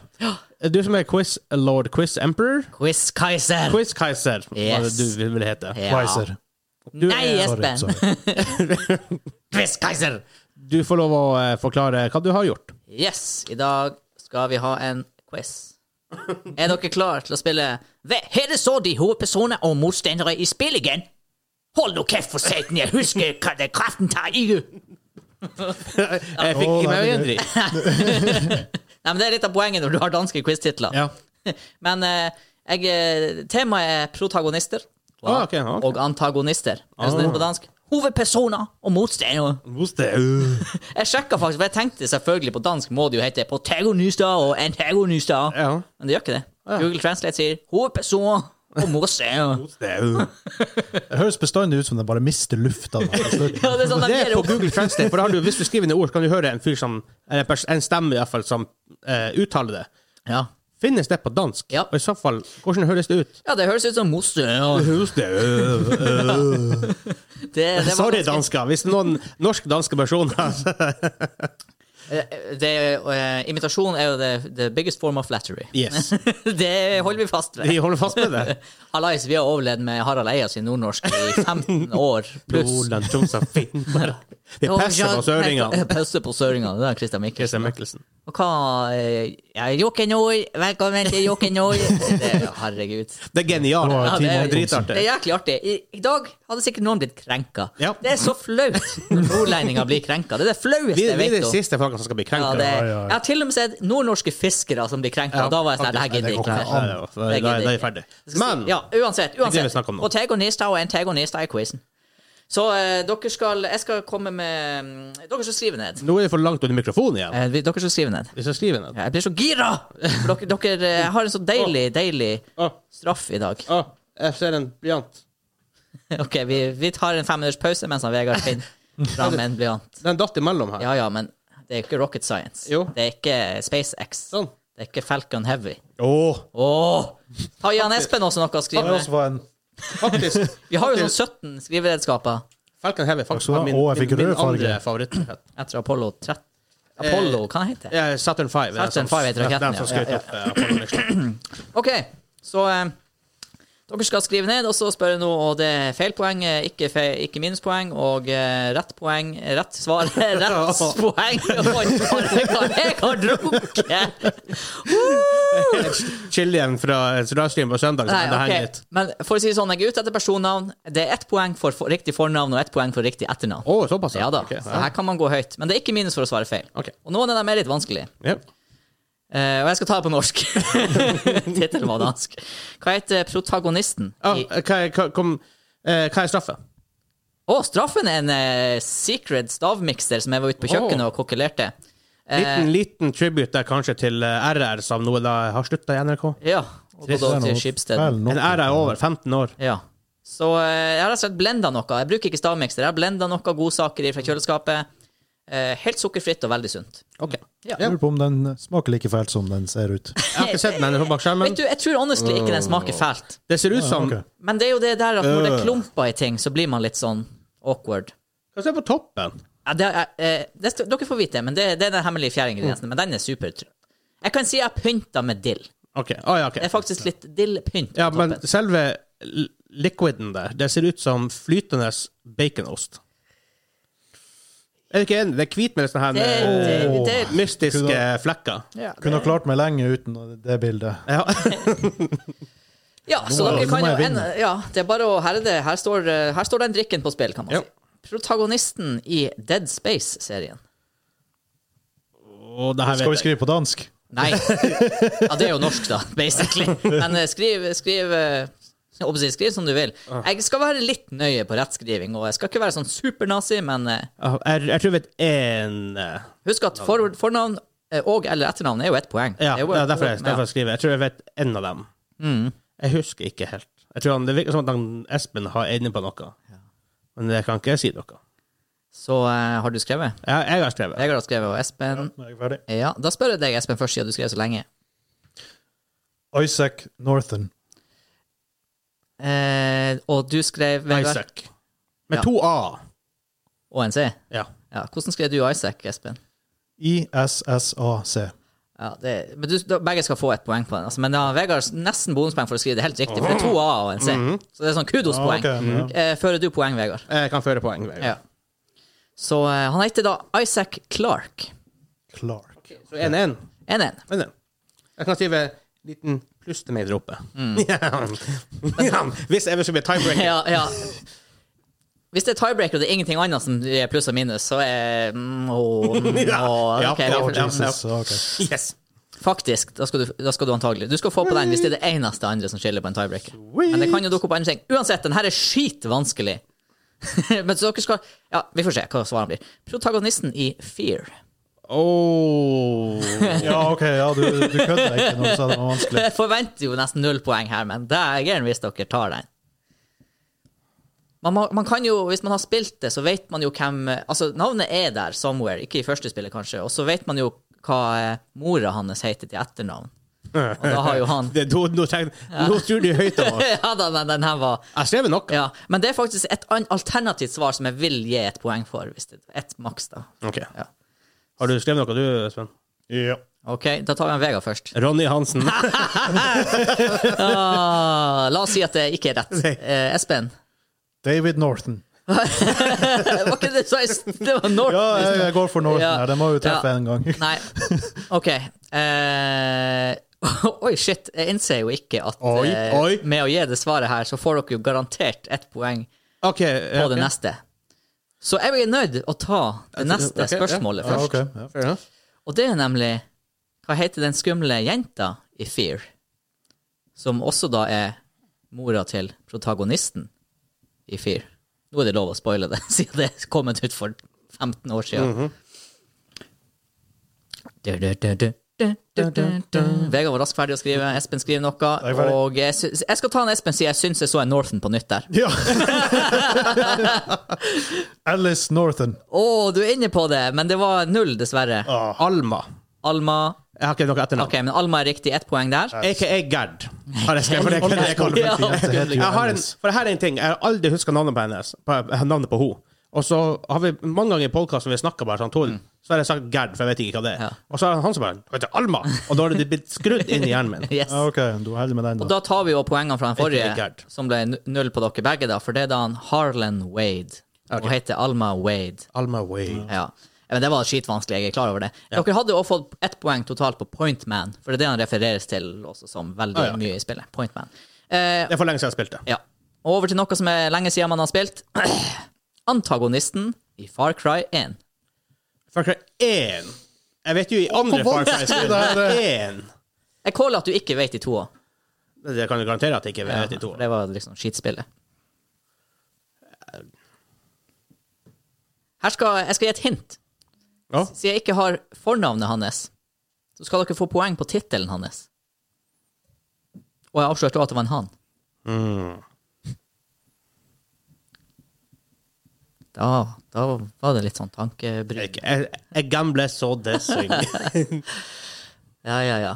S1: Du som er quiz lord, quiz emperor,
S2: Quiz Kaiser!
S1: quiz keiser, hva det
S2: Yes.
S1: du vil hete.
S2: Ja.
S3: Wiser.
S1: Du,
S2: Nei,
S1: er-
S3: Sorry,
S2: Espen!
S3: sorry.
S2: Quiz Kaiser!
S1: du får lov å eh, forklare hva du har gjort.
S2: Yes, i dag skal vi ha en quiz. Er dere klare til å spille Hva er det så de hovedpersoner og motstandere i spillet igjen? Hold nå kjeft, for satan, jeg husker hva det kraften tar i du!
S1: Jeg fikk
S3: Å,
S1: i meg
S3: det er
S1: en dritt.
S2: Nei, men Det er litt av poenget når du har danske quiz-titler.
S1: Ja.
S2: Men eh, jeg, eh, temaet er protagonister og,
S1: Ah, ok, ok. Ah.
S2: og antagonister. Er det sånn det er på dansk? Hovedpersoner og motstandere. Jeg sjekka faktisk, for jeg tenkte selvfølgelig på dansk må det jo hete protagonister og antagonister.
S1: Ja.
S2: Men det gjør ikke det. Google Translate sier hovedpersoner og motstandere.
S3: Det høres bestandig ut som den bare mister lufta. da.
S2: Ja, det er sånn de
S1: Det er
S2: gir
S1: på
S2: opp.
S1: Google Translate, for da har du, hvis du skriver ned ord, så kan du høre en fyr som eller en pers- En stemme i hvert fall som eh, uttaler det.
S2: Ja.
S1: Finnes det på dansk?
S2: Ja.
S1: Og i så fall, hvordan høres det ut?
S2: ja, det høres ut som motstandere. Det, det var
S1: Sorry,
S2: ganske-
S1: dansker. Hvis det er noen norsk-danske personer
S2: Det, eh, imitasjon er jo the, the biggest form of flattery.
S1: Yes.
S2: det holder vi fast ved.
S1: Vi holder fast med det.
S2: Hallais, vi har overlevd med Harald Eia sin nordnorsk i 15 år pluss.
S1: Nordland, Troms og Finnmark. Vi passer på søringene.
S2: Pøsser på søringene. Det er Christian
S1: Christian
S2: Mikkelsen.
S1: Mikkelsen.
S2: Og hva eh, ja, Jokke Nord, velkommen til Jokke Nord! Det- Herregud.
S1: Det er genialt.
S3: Det var
S1: Ja, det er
S3: Timo
S2: Det er
S3: Thomsen.
S1: dritartig.
S2: jæklig artig. I, I dag hadde sikkert noen blitt krenka.
S1: Ja.
S2: Det er så flaut når nordlendinger blir krenka. Det er det flaueste
S1: Vi,
S2: jeg
S1: vi er
S2: vet
S1: de
S2: om.
S1: siste folkene som skal bli
S2: Ja,
S1: krenka.
S2: det,
S3: Ja, ja, ja.
S2: jeg har til og med sett nordnorske fiskere som blir krenka, og da var jeg sånn her, det gidder jeg ikke
S1: Nei, nei,
S2: mer.
S1: nei, Da
S2: Det
S1: da
S2: gidder
S1: er vi
S2: jeg ikke.
S1: ferdig.
S2: skal
S1: Men
S2: si- ja, uansett.
S1: det vi
S2: uansett.
S1: snakker om nå.
S2: Protagonister og antagonister i quizen. Så eh, dere skal Jeg skal komme med mm, Dere skal skrive ned.
S1: nå er det for langt under mikrofonen igjen.
S2: Eh, vi- dere skal skrive ned.
S1: Hvis jeg skriver den.
S2: Jeg blir så gira! For dere, dere eh, har en så deilig, deilig
S1: Å,
S2: straff i dag.
S1: å, jeg ser en blyant.
S2: OK, vi, vi tar en femminutters pause mens han Vegard finner fram en blyant.
S1: Den datt imellom her.
S2: Ja ja, men Det er jo ikke rocket science.
S1: Jo.
S2: Det er ikke SpaceX.
S1: Sånn.
S2: Det er ikke Falcon Heavy.
S1: Åh,
S2: Åh! Ta Jan Espen også noe å
S3: Det
S2: skrive.
S3: er også var en
S1: faktisk.
S2: Vi har jo sånn 17 skriveredskaper
S1: Falcon Heavy faktisk
S3: Takk skal du ha.
S1: var min,
S3: Åh, jeg fikk
S1: min, min
S3: rød farge.
S1: andre favoritt.
S2: etter Apollo 13. Apollo, hva heter det?
S1: Eh, Saturn 5.
S2: Saturn V heter raketten,
S1: Den som
S2: ja.
S1: skjøt opp eh, Apollo Mission.
S2: OK, så eh, dere skal skrive ned, og så spørre nå, og det er feil poeng, eh, ikke, feil, ikke minuspoeng, og eh, rett poeng, rett svar, rett poeng. Oi, Jeg har drukket!
S1: Chilien fra livestream på søndag.
S2: Nei,
S1: Nei, det
S2: ok.
S1: henger litt.
S2: Men for å si det sånn, jeg er ute etter personnavn. Det er ett poeng for, for riktig fornavn og ett poeng for riktig etternavn.
S1: Åh, såpass.
S2: Ja da,
S1: Ok,
S2: så her kan man gå høyt. Men det er ikke minus for å svare feil.
S1: Ok.
S2: Og noen av dem er litt vanskelig.
S1: Ja.
S2: Eh, og jeg skal ta det på norsk. Tittelen var dansk. Hva heter protagonisten?
S1: Ja,
S2: i-
S1: Ah, hva, er- hva, kom, eh, hva er straffa?
S2: Å, straffen er en eh, secret stavmikser som jeg var ute på kjøkkenet
S1: Åh.
S2: og kokkelerte. Eh.
S1: Liten, liten tribute der kanskje til eh, RR, som nå da har slutta i NRK.
S2: Ja. Og gått over til Skipsted.
S1: En RR er over 15 år.
S2: Ja. Så eh, jeg har rett og slett blenda noe. Jeg bruker ikke stavmikser. Jeg har blenda noe godsaker fra kjøleskapet. Eh, helt sukkerfritt og veldig sunt.
S1: Ok.
S2: Ja.
S3: Lurer på om den smaker like fælt som den ser ut.
S1: Jeg har ikke sett den ennå bak skjermen.
S2: Vet du, jeg tror honestly ikke den smaker fælt.
S1: Det ser ut
S3: Ja,
S1: som
S3: ok.
S2: Men det er jo det der at når det er
S1: Øh.
S2: klumper i ting, så blir man litt sånn awkward.
S1: Hva ser på toppen?
S2: Ja, det er, eh, det, står- dere får vite det, men det, det er den hemmelige fjerde ingrediensen. Men den er supertrygg. Jeg kan si jeg pynta med dill.
S1: Ok, ah, ja, ok.
S2: Det er faktisk litt dillpynt på
S1: Ja, men
S2: toppen.
S1: selve l- liquiden der, det ser ut som flytende baconost. Er du ikke enig? Det er hvit med sånne her
S2: Det, det,
S1: eh,
S2: det,
S1: mystiske
S3: Kunne-
S1: flekker.
S2: ja,
S3: Kunne ha klart meg lenge uten det bildet.
S1: Ja.
S2: så
S3: Nå må
S2: dere kan jo
S3: jeg- nå må jeg
S2: en,
S3: vinne.
S2: Ja, det er bare å her, er det, her, står, eh, her står den drikken på spill, kan man
S1: Ja.
S2: si. Protagonisten i Dead Space-serien.
S1: Og det her
S3: Skal vi
S1: vet jeg.
S3: skrive på dansk?
S2: Nei. Ja, det er jo norsk, da, basically. Men eh, skriv, skriv eh, jeg håper å si, Skriv som du vil.
S1: Ah.
S2: Jeg skal være litt nøye på rettskriving, og jeg skal ikke være sånn supernazi, men eh,
S1: Ja, Jeg, jeg tror jeg vet én eh,
S2: Husk at for, fornavn eh, og eller etternavn er jo ett poeng.
S1: Ja, det
S2: Det jo
S1: er
S2: et-
S1: derfor jeg, derfor jeg skriver. Jeg tror jeg vet én av dem. Jeg husker ikke helt. Jeg tror han, Det virker som at han, Espen har inne på noe. Men det kan ikke jeg si noe.
S2: Så eh, har du skrevet?
S1: Jeg, jeg har skrevet.
S2: Vegard har skrevet, og Espen
S3: Nå er jeg ferdig.
S2: Ja, da spør jeg deg, Espen, først, siden du skrev så lenge.
S3: Isaac Northern.
S2: Eh, og du skrev Vegard
S1: Isaac. Med
S2: Ja.
S1: to a.
S2: og en C.
S1: Ja.
S2: Ja, hvordan skrev du Isaac, Espen?
S3: ISSAC.
S2: Ja, det, men du, da, begge skal få et poeng på den. Altså, men da, Vegard har nesten bonuspoeng for å skrive det helt riktig, for det er to A og en C. Så det er sånn
S3: Ah,
S2: kudospoeng.
S3: ok, ja.
S2: eh, fører du poeng, Vegard?
S1: Jeg kan føre poeng. Vegard.
S2: Ja. Så eh, han heter da Isaac Clark.
S3: Clark.
S1: Så 1-1.
S2: 1-1.
S1: Men det- Jeg kan skrive en liten pluss til meg der oppe. Ja. Hvis jeg skulle bli tiebreaker.
S2: Mm. ja, ja. Hvis det er tiebreaker og det er ingenting annet som er pluss og minus, så er mm, å, mm, å,
S1: Ja,
S2: ok,
S1: ja,
S2: vi får-
S1: ja.
S3: Jesus, ok.
S1: Yes.
S2: Faktisk, da skal, du, da skal du antagelig Du skal få på den hvis det er det eneste andre som skiller på en tiebreaker. Men det kan jo dukke opp andre ting. Uansett, den her er skitvanskelig. Men så dere skal Ja, vi får se hva svarene blir. Protagonisten i Fear.
S1: Oh.
S3: Ja, ok, ja, du, du kødda ikke når du sa det var vanskelig.
S2: Jeg forventer jo nesten null poeng her, men det er gæren hvis dere tar den. Man, må, man kan jo, Hvis man har spilt det, så vet man jo hvem Altså, navnet er der somewhere, ikke i første spillet, kanskje, og så vet man jo hva eh, mora hans heter til etternavn. Og da har jo han
S1: Det, nå, nå, tenk, nå tror du høyt om oss.
S2: Ja da, men den her var
S1: Jeg skrev noe.
S2: Ja, men det er faktisk et an alternativt svar som jeg vil gi et poeng for, hvis det er ett maks, da.
S1: Ok.
S2: Ja.
S1: Har du skrevet noe, du, Espen?
S3: Ja.
S2: OK, da tar vi en Vegard først.
S1: Ronny Hansen.
S2: Ah, la oss si at det ikke er rett. Eh, Espen, Eh,
S3: David Northern.
S2: var ikke det så Det var Norton.
S3: Ja, jeg, jeg går for Northern
S2: Ja.
S3: her. Det må jo treffe
S2: Ja.
S3: en gang.
S2: Nei. OK. Eh, oi, shit. Jeg innser jo ikke at
S1: Oi,
S2: eh,
S1: oi.
S2: med å gi det svaret her, så får dere jo garantert ett poeng på
S1: Ok. ja,
S2: det
S1: ok.
S2: neste. Så jeg blir nødt å ta det neste
S1: ok, ja.
S2: spørsmålet
S3: Ja,
S2: først.
S3: ok. Ja.
S1: Fair enough.
S2: Og det er nemlig Hva heter den skumle jenta i Fear? Som også da er mora til protagonisten i Fear. Nå er det lov å spoile det, siden det er
S3: Mhm.
S2: kommet ut for 15 år siden. Du, du, du, du. Vegard var raskt ferdig å skrive, Espen skriver noe.
S3: Jeg er ferdig.
S2: Og jeg, sy- jeg skal ta en Espen siden jeg syns jeg så en Northern på nytt der.
S3: Ja! Alice Northern.
S2: Å, du er inne på det, men det var null, dessverre.
S1: Alma.
S2: Alma
S1: Jeg har ikke noe etternavn.
S2: Ok, men Alma er riktig. Ett poeng der.
S1: AKA Gerd. Har jeg skrevet, for det er ikke- jeg kaller meg
S2: Ja.
S1: ikke.
S3: Det heter jo
S1: Jeg har en,
S3: Alice.
S1: for det her er en ting. Jeg har aldri huska navnet på hennes. På, navnet på henne. Og så har vi mange ganger i podkasten vi snakka bare sånn, Tor, så har jeg sagt Gerd, for jeg vet ikke hva det er.
S2: Mm. Ja.
S1: Og så har han som bare Hun heter Alma! Og da har det blitt skrudd inn i hjernen min.
S2: Yes.
S3: Ja, OK, du er heldig med den,
S2: Og da
S3: da.
S2: tar vi jo poengene fra den
S1: Ikke
S2: forrige,
S1: Gerd.
S2: som ble nu- null på dere begge, da, for det er da han Harlan Wade.
S1: Ok.
S2: Hun heter Alma Wade.
S1: Alma Wade.
S2: Ja. Men det var skitvanskelig, jeg er klar over det. Dere hadde jo også fått ett poeng totalt på Point Man, for det er det han refereres til også som veldig
S1: Ah, ja, ok.
S2: mye i spillet. Point Man. Eh,
S1: Det er for lenge siden jeg spilte.
S2: ja. Og over til noe som er lenge siden man har spilt. Antagonisten i Far Cry 1.
S1: Far Cry 1. Jeg vet jo i andre
S3: hvor
S1: Far Cry
S3: vanskelig
S1: spill
S3: det er, det.
S1: 1.
S2: Jeg caller at du ikke vet i toa.
S1: Det kan du garantere at jeg ikke vet i to.
S2: for Det var liksom skitspillet. Her skal, jeg skal gi et hint.
S1: Ja.
S2: Siden jeg ikke har fornavnet hans, så skal dere få poeng på tittelen hans. Og jeg avslørte også at det var en han. Da, da var det litt sånn tankebry.
S1: Jeg, jeg, jeg gambler så det synger.
S2: Ja, ja, ja.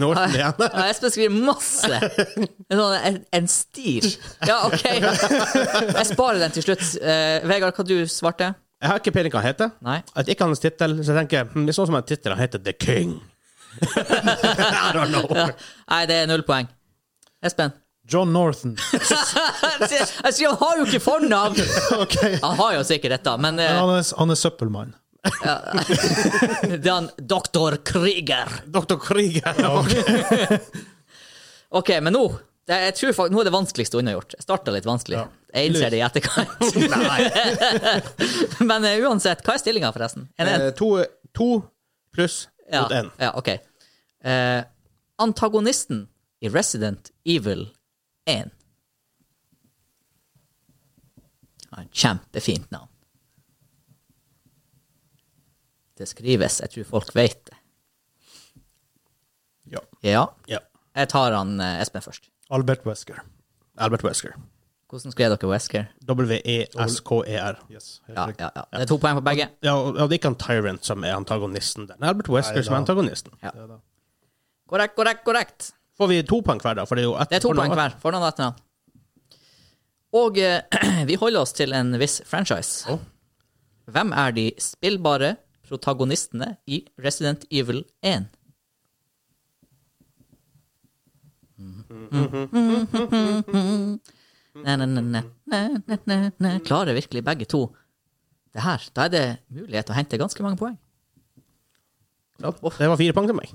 S1: Norten igjen.
S2: Ja, Espen skriver masse. En, sånn, en, en stil. Ja, OK. Jeg sparer den til slutt. Eh, Vegard, hva du svarte
S1: Jeg har ikke peiling hva han heter.
S2: Nei.
S1: Jeg vet ikke hans tittel, så jeg tenker hm, det er sånn som en tittel. Han heter The King. I don't know.
S2: Nei, det er null poeng. Espen?
S3: John Northern.
S2: Jeg sier- jeg sier han har jo ikke fornavn!
S3: OK.
S2: Han har jo sikkert dette, men eh,
S3: Han er, han er søppelmann.
S2: det er han Doktor Krieger.
S1: Dr. Krieger.
S2: OK, men nå det, jeg tror fakt, Nå er det vanskeligste unnagjort. Jeg starta litt vanskelig. Jeg innser det i etterkant.
S1: Nei.
S2: Men eh, uansett, hva er stillinga, forresten? En, en?
S1: Eh, To, to pluss mot
S2: Ja,
S1: én.
S2: ja ok. Eh, antagonisten i Resident Evil 1. Har et kjempefint navn. Det skrives, jeg tror folk vet det.
S1: Ja.
S2: Ja,
S1: Ja.
S2: jeg tar han eh, Espen først.
S3: Albert Wesker.
S1: Albert Wesker.
S2: Hvordan skrev dere Wesker?
S1: E W-E-S-K-E-R.
S3: Yes, helt
S2: Ja,
S3: riktig.
S2: ja, ja. Det er to poeng på begge.
S1: Ja, og og det er ikke han Tyrant som er antagonisten. Det er Albert Wesker
S3: Nei,
S1: som
S3: da.
S1: er antagonisten.
S2: Korrekt, korrekt, korrekt.
S1: Får vi to poeng hver, da? For det er jo ett
S2: Det er to
S1: fornavn.
S2: poeng hver. Fornavn og etternavn. Og eh, vi holder oss til en viss franchise.
S1: Å.
S2: Hvem er de spillbare protagonistene i Resident Evil 1?
S1: Mm-hmm.
S2: Na, na, na, na, na, na, na, na. Mm-hmm. Klarer virkelig begge to det her? Da er det mulighet å hente ganske mange poeng.
S1: Ja, det var fire poeng til meg.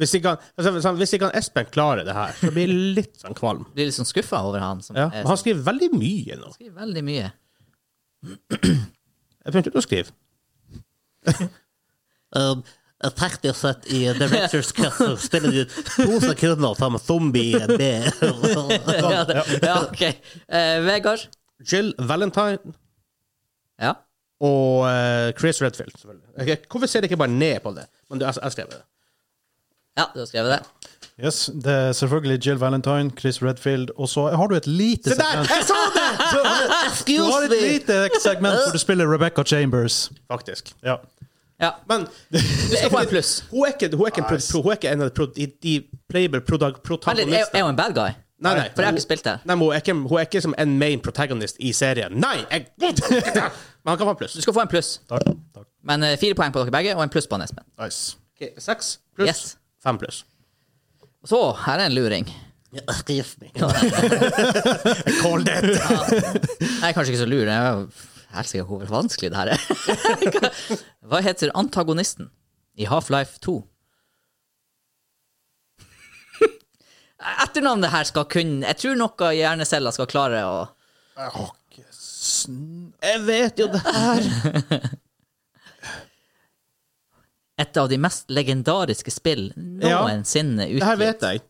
S1: Hvis ikke, han, for eksempel, sånn, hvis ikke han Espen klarer det her, så blir jeg litt sånn kvalm.
S2: Blir litt sånn skuffa over han som
S1: Ja.
S2: eh,
S1: Men han skriver veldig mye nå.
S2: skriver veldig mye.
S1: Jeg begynte ikke å skrive.
S4: Um, Teknisk sett i Directors Cut så spiller de to sekunder som
S1: eh,
S4: zombie med
S2: ja, det, ja, ok. Eh, Vegard?
S1: Jill Valentine
S2: Ja.
S1: og eh, Chris Redfield, selvfølgelig. Ok, Hvorfor ser jeg ikke bare ned på det? Men det, jeg, jeg skrev det.
S2: Ja, du har skrevet det.
S3: Yes, det er selvfølgelig Jill Valentine, Chris Redfield, og så har du et lite
S1: Se der!
S3: segment.
S1: Jeg sa det!
S3: Du har
S4: Excuse
S3: et
S4: me!
S3: lite segment hvor du spiller Rebecca Chambers.
S1: Faktisk.
S3: Ja.
S2: Ja,
S1: Men
S2: du skal få en pluss.
S1: hun er ikke, hun er ikke, en, pro, pro- hun er ikke en av de, pro, de, de playable prodag-
S2: Men jeg
S1: protagonistene.
S2: er jo en bad guy.
S1: Nei, nei.
S2: For jeg har ikke spilt det.
S1: Nei, men hun er ikke, hun er ikke som en main protagonist i serien. Nei! Jeg, men han kan få en pluss.
S2: Du skal få en pluss.
S3: Takk. Takk.
S2: Men eh, fire poeng på dere begge, og en pluss på han, Espen.
S3: Nice.
S1: Ok, Seks pluss
S2: Yes.
S1: fem pluss.
S2: Så, her er en luring.
S4: Excuse me.
S1: Call that!
S2: Jeg er kanskje ikke så lur. Jeg er jo- Helsike, hvor vanskelig det her er. Hva heter antagonisten i Half-Life 2? Etternavnet her skal kunne Jeg tror noe hjerneceller skal klare å
S1: Jeg vet jo det her.
S2: Et av de mest legendariske spill noensinne
S1: Det her
S2: utgitt.
S1: vet jeg.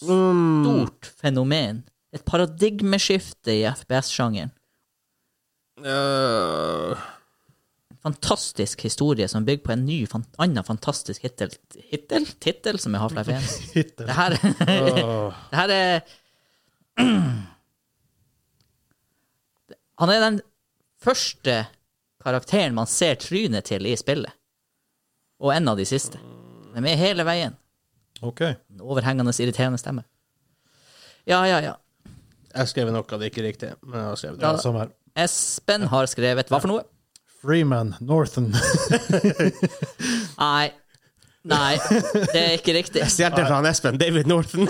S2: stort fenomen. Et paradigmeskifte i FPS-sjangeren.
S1: Øh,
S2: En fantastisk historie som bygger på en ny, fan, annen fantastisk hittel, hittel? Tittel, som er Half-Life 1.
S3: Hittil.
S2: Det her, det her er Han er den første karakteren man ser trynet til i spillet. Og en av de siste. De er med hele veien.
S3: OK.
S2: En overhengende irriterende stemme. Ja, ja, ja.
S1: Jeg skrev noe det er ikke er riktig, men jeg har skrevet det.
S2: Ja.
S3: Samme her.
S2: Espen har skrevet Hva for noe?
S3: Freeman Northern.
S2: Nei. Nei, det er ikke riktig.
S1: Jeg Stjal det fra han Espen. David Norton.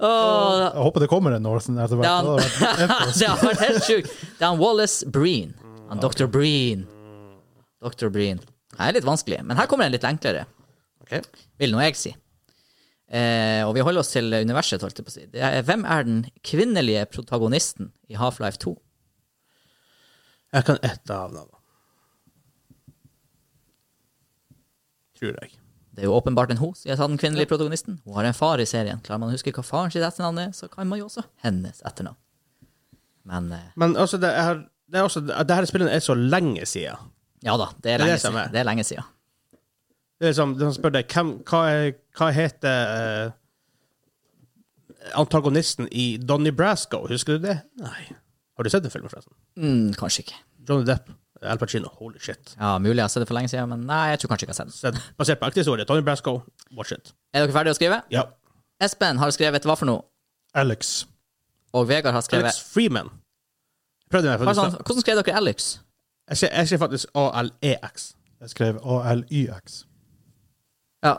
S2: Åh,
S3: Jeg håper det kommer en Northern etter
S2: det,
S3: hvert.
S2: er
S3: Det hadde vært-
S2: han, det har vært helt sjukt. Det er han Wallace Breen. Han Dr. Breen. Dr. Breen. Det er litt vanskelig, men her kommer en litt enklere,
S1: Okay.
S2: vil nå jeg si. Eh, og vi holder oss til universet, holdt jeg på å si. Det er, hvem er den kvinnelige protagonisten i Half-Life 2?
S1: Jeg kan ett av navnene. Tror jeg.
S2: Det er jo åpenbart en ho, sier jeg sa den kvinnelige protagonisten. Hun har en far i serien. Klarer man å huske hva faren sitt etternavn er, så kan man jo også hennes etternavn. Men eh,
S1: Men altså, det er, det er også, det her spillet er så lenge siden.
S2: ja da, det er
S1: Det er
S2: lenge
S1: det som er.
S2: siden. Det er lenge siden.
S1: Det er liksom, de spør deg hvem, hva, er, hva heter eh, antagonisten i Donnie Brasco. Husker du det? Nei. Har du sett den filmen, forresten?
S2: Mm, kanskje ikke.
S1: Johnny Depp. Al Pacino. Holy shit.
S2: Ja, Mulig jeg har sett det for lenge siden, men nei, jeg tror kanskje ikke jeg har sett den.
S1: Sett, basert på ekte historie. Donnie Brasco. Watch it.
S2: Er dere ferdige å skrive?
S1: Ja.
S2: Espen har skrevet hva for noe,
S3: Alex.
S2: og Vegard har skrevet
S1: Alex Freeman. Prøvde meg
S2: Hva er
S1: faktisk.
S2: sånn, Hvordan skrev dere Alex?
S1: Jeg ser, jeg ser faktisk E ALEX.
S3: Jeg skrev ALYX.
S2: Ja.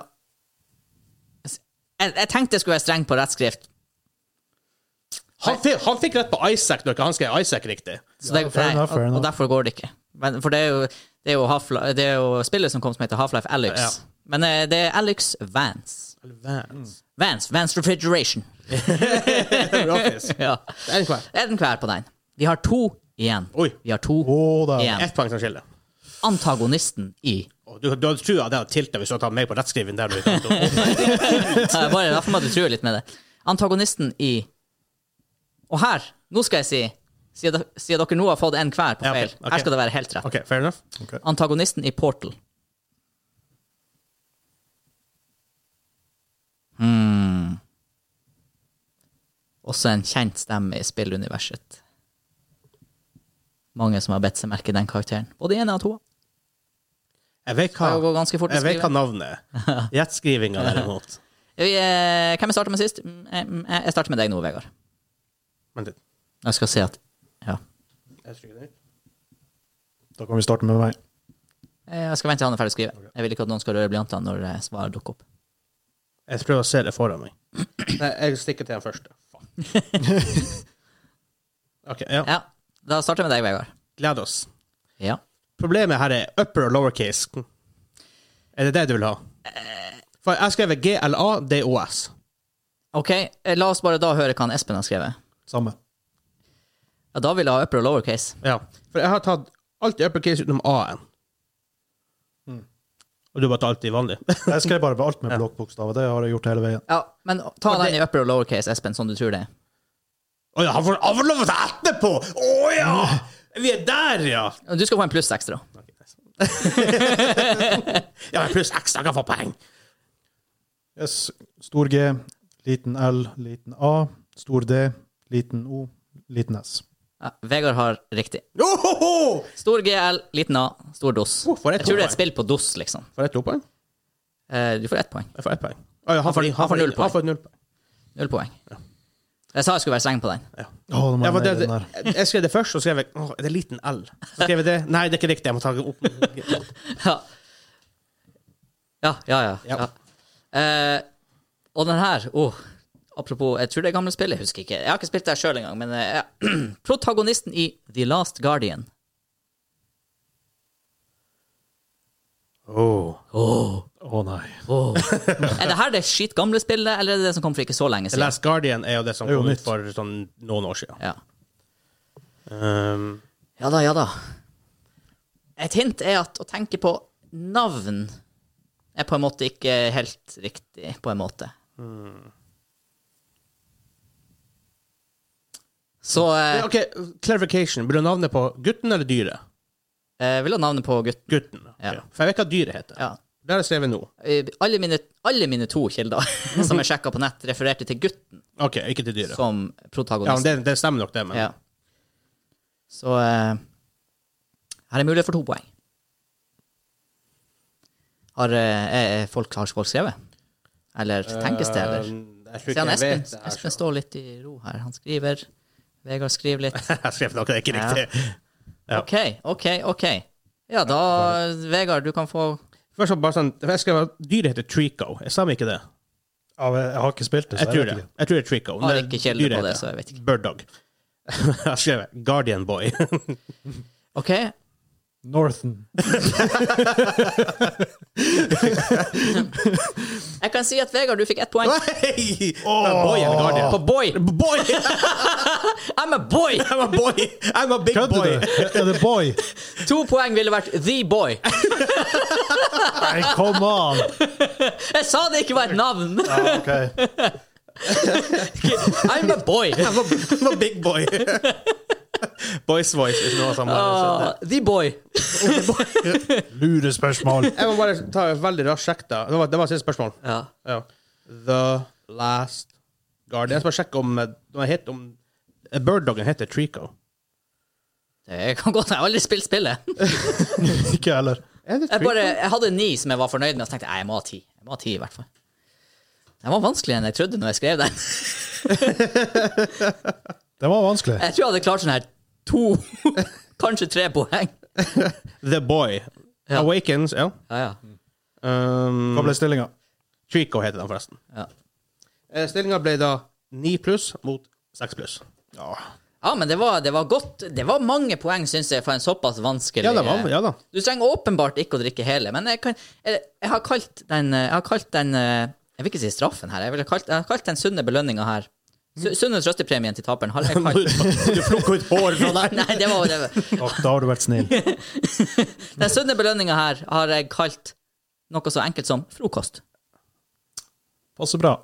S2: Jeg, jeg tenkte jeg skulle være streng på rettskrift,
S1: Han, fikk- han fikk rett på Isaac når ikke han skrev Isaac riktig.
S2: så det,
S3: Ja, fair
S2: nei,
S3: enough, fair
S2: og, og
S3: enough.
S2: derfor går det ikke. Men, for det er, jo, det, er jo Half-Li- det er jo spillet som kom som heter Half-Life Alex.
S1: Ja.
S2: Men eh, det er Alex Vance.
S1: Vance.
S2: Vance, Vance Refrigeration.
S1: Gratis.
S2: ja.
S1: En hver.
S2: En hver på den. Vi har to igjen.
S1: Oi.
S2: Vi har to
S3: Å, der.
S2: igjen.
S1: Ett poeng som skiller.
S2: Antagonisten i
S1: Å, Du, du hadde trua det hadde tilta hvis du hadde tatt meg på rettskriven der. Du, Å,
S2: Ja, jeg bare derfor må du true litt med det. Antagonisten i Og her, nå skal jeg si Siden de- siden dere nå har fått en hver på
S1: Ja,
S2: feil,
S1: ok, ok.
S2: her skal det være helt rett.
S1: OK, fair enough.
S2: Antagonisten i Portal. Hmm. Også en kjent stemme i spilluniverset. Mange som har bedt seg merke den karakteren. Både én og to.
S1: Jeg vet hva,
S2: Skal jo gå ganske fort å
S1: Ah. jeg vet
S2: skrive.
S1: hva navnet er. Rettskrivinga, derimot.
S2: Vi, eh, Hvem jeg starter med sist? Mm, eh, mm, eh, Jeg starter med deg nå, Vegard.
S1: Vent litt.
S2: Jeg skal se at Ja.
S1: Jeg trykker den ut.
S3: Da kan vi starte med meg.
S2: Eh, Jeg skal vente til han er ferdig å skrive. Jeg vil ikke at noen skal røre blyantene når eh, svaret dukker opp.
S1: Jeg prøver å se det foran meg. Nei, jeg stikker til den første. Faen. OK. Ja.
S2: Ja, Da starter jeg med deg, Vegard.
S1: Gled oss.
S2: Ja.
S1: Problemet her er upper og lower case. Er det det du vil ha? For jeg skrev GLA-DOS.
S2: Ok, eh, la oss bare da høre hva han Espen har skrevet.
S3: Samme.
S2: Ja, Da vil jeg ha upper og lower case.
S1: Ja. For jeg har tatt alltid upper case utenom A-en. Og du bare tar alltid vanlig.
S3: Jeg skrev bare alt med blokkbokstaver. Det har jeg gjort hele veien.
S2: Ja, Men ta
S1: Og det-
S2: den i upper og lower case, Espen, som du tror det er.
S1: Å ja, han får avlova seg etterpå! Å ja! Vi er der, ja!
S2: Du skal få en pluss ekstra.
S1: Ja, men pluss X, jeg kan få poeng.
S3: Yes. Stor G, liten L, liten A. Stor D, liten O, liten S.
S2: Ja, Vegard har riktig.
S1: Ohoho!
S2: Stor GL, liten A, stor DOS.
S1: Oh, for et
S2: jeg tror det er
S1: poeng.
S2: et spill på DOS, liksom.
S1: Får jeg to poeng?
S2: Eh, Du får ett poeng.
S1: Jeg får ett poeng. Å, ja, han, får,
S2: han får null poeng.
S1: Han får null poeng.
S2: Null poeng. Jeg sa jeg skulle være streng på den.
S3: Å, det må
S1: Ja,
S3: jeg
S1: for det,
S3: ned i den der.
S1: jeg- jeg skrev det først, så skrev jeg Å, er det liten L? Så skrev jeg det. Nei, det er ikke riktig. Jeg må ta det opp.
S2: Ja. Ja, ja, ja. ja.
S1: Ja.
S2: Eh, og den her oh, Apropos, jeg tror det er gamle spill, jeg husker ikke. Jeg har ikke spilt det sjøl engang, men eh, ja. protagonisten i The Last Guardian.
S1: Oh.
S3: Å nei.
S2: Er det her det skitt gamle spillet, eller er det det som kom for ikke så lenge
S1: The
S2: siden?
S1: Last Guardian er jo det som
S3: Det er jo
S1: kom ut
S3: nytt.
S1: for sånn noen år siden.
S2: Ja.
S1: Um,
S2: ja da, ja da. Et hint er at å tenke på navn er på en måte ikke helt riktig, på en måte. Så eh, eh,
S1: ok, Clarification. Blir det navnet på gutten eller dyret?
S2: Eh, vil ha navnet på gutten.
S1: Gutten.
S2: Ja.
S1: ok. For jeg vet ikke hva dyret heter.
S2: Ja.
S1: Det har jeg skrevet nå.
S2: Eh, Alle mine, alle mine to kilder som jeg sjekka på nett, refererte til gutten
S1: OK, ikke til dyret.
S2: som
S1: Ja, men
S2: protagonist.
S1: det, det stemmer nok, det. Men
S2: Ja. Så eh, her er mulighet for to poeng. Har eh, eh, folk, har folk skrevet? Eller tenkes det, eller?
S1: Eh, Jeg tror
S2: Ser
S1: ikke
S2: han
S1: jeg
S2: Espen,
S1: vet det her.
S2: Espen står litt i ro her. Han skriver. Vegard skriver litt.
S1: Jeg skrev noe, det er ikke
S2: Ja.
S1: riktig. Ja.
S2: OK, OK, OK. Ja, da Vegard, du kan få
S1: Først og bare sånn, jeg skrev at dyret heter Trico. Jeg sa meg ikke det.
S3: Ja, men jeg har ikke spilt det, så
S1: Jeg
S3: jeg,
S1: tror
S3: vet
S1: det.
S3: ikke.
S1: Jeg tror det er Trico.
S2: Har
S1: Men
S2: ikke kilde
S1: dyret
S2: på det,
S1: heter
S2: så jeg vet ikke.
S1: Bird Dog. Jeg skrev Guardian Boy.
S2: OK.
S3: Northern.
S2: Jeg kan si at Vegard, du fikk ett poeng.
S1: Nei! Boy and Guardian.
S2: På boy.
S1: Boy!
S2: I'm a boy!
S1: I'm a boy! I'm a big
S3: Kødder
S1: boy!
S3: du? Er det boy?
S2: To poeng ville vært the boy.
S3: Nei, come on!
S2: Jeg sa det ikke var et navn!
S3: Ja, ok.
S2: I'm a boy.
S1: I'm a, I'm a big boy. Boys voice is noe som
S2: Ah, the boy.
S3: Lure spørsmål.
S1: Jeg må bare ta en veldig rask sjekk, da. Det var, det var siste spørsmål.
S2: Ja.
S1: Ja. The Last Guardian. Jeg skal bare sjekke om, eh, om, jeg het- om eh, Bird Doggen heter Trico.
S2: Det kan godt hende. Jeg har aldri spilt spillet.
S3: Ikke heller.
S1: Er det
S2: Jeg,
S1: Trico?
S2: bare, jeg hadde ni som jeg var fornøyd med, og så tenkte jeg, jeg jeg må ha ti. Jeg må ha ti i hvert fall. Den var vanskeligere enn jeg trodde når jeg skrev den.
S3: Det var vanskelig.
S2: Jeg tror jeg hadde klart sånn her to, kanskje tre poeng.
S1: The Boy.
S2: Ja.
S1: Awakens, ja.
S2: Ja, ja.
S1: Um,
S3: Hva ble stillinga?
S1: Trico heter den, forresten.
S2: Ja,
S1: Eh, Stillinga ble da 9 pluss mot 6 pluss. Ja.
S2: ja men det var, det var godt. Det var mange poeng, syns jeg, for en såpass vanskelig
S1: Ja, det var, ja da.
S2: Du trenger åpenbart ikke å drikke hele, men jeg, kan, jeg, jeg har kalt den Jeg har kalt den eh, Jeg vil ikke si straffen her, jeg, ville kalt, jeg har kalt den sunne belønninga her. Su- Sunne trøstepremien til taperen har jeg kalt
S1: Du plukker ut hår fra deg.
S2: Nei, det var det. var-
S3: Da har du vært snill.
S2: Den sunne belønninga her har jeg kalt noe så enkelt som frokost.
S3: Passer bra.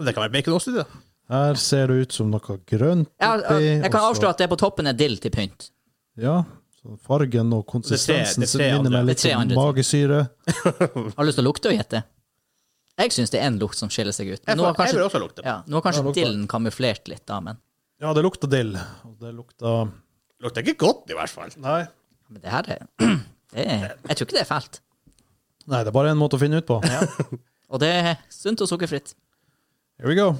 S1: Det kan være baconost i det.
S3: Her ser det ut som noe grønt
S2: Jeg, har-
S3: oppi,
S2: jeg kan
S3: og så-
S2: avslå at det på toppen er dill til pynt.
S3: Ja. Så fargen og konsistensen
S1: Det er tre- det er tre
S3: minner
S1: andre.
S3: meg litt
S2: Det er tre
S3: om
S2: andre.
S3: magesyre.
S2: Har du lyst til å lukte og gjette? Jeg syns det er en lukt som skiller seg ut.
S1: Jeg,
S2: Men nå har
S1: får- jeg vil
S2: kanskje,
S1: også lukte.
S2: ja, nå har
S3: Ja,
S2: kanskje
S3: lukt
S2: dillen kamuflert litt, da, men,
S3: Ja, det lukta dill. Og det lukta
S1: Lukter ikke godt, i hvert fall.
S3: Nei.
S2: men det her er, det er Jeg tror ikke det er fælt.
S3: Nei, det er bare én måte å finne ut på.
S2: Og det er sunt og sukkerfritt.
S3: Here we go.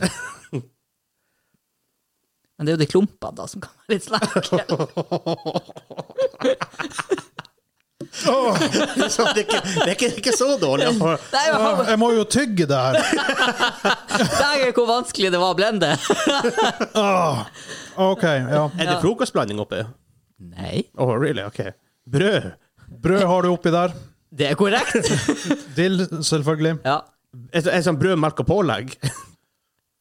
S2: Men det er jo de klumpene da som kan være litt slake.
S1: Så det er ikke, det er ikke, ikke så dårlig.
S2: Det er jo
S3: Ah, Jeg må jo tygge det her.
S2: dægen hvor vanskelig det var å blende.
S3: Ah, OK, ja.
S1: Er det frokostblanding oppi?
S2: Nei,
S1: Oh, really? OK. Brød.
S3: Brød har du oppi der.
S2: det er korrekt.
S3: Dill, selvfølgelig.
S2: Ja.
S1: Er det- er det sånn brød, melk og pålegg?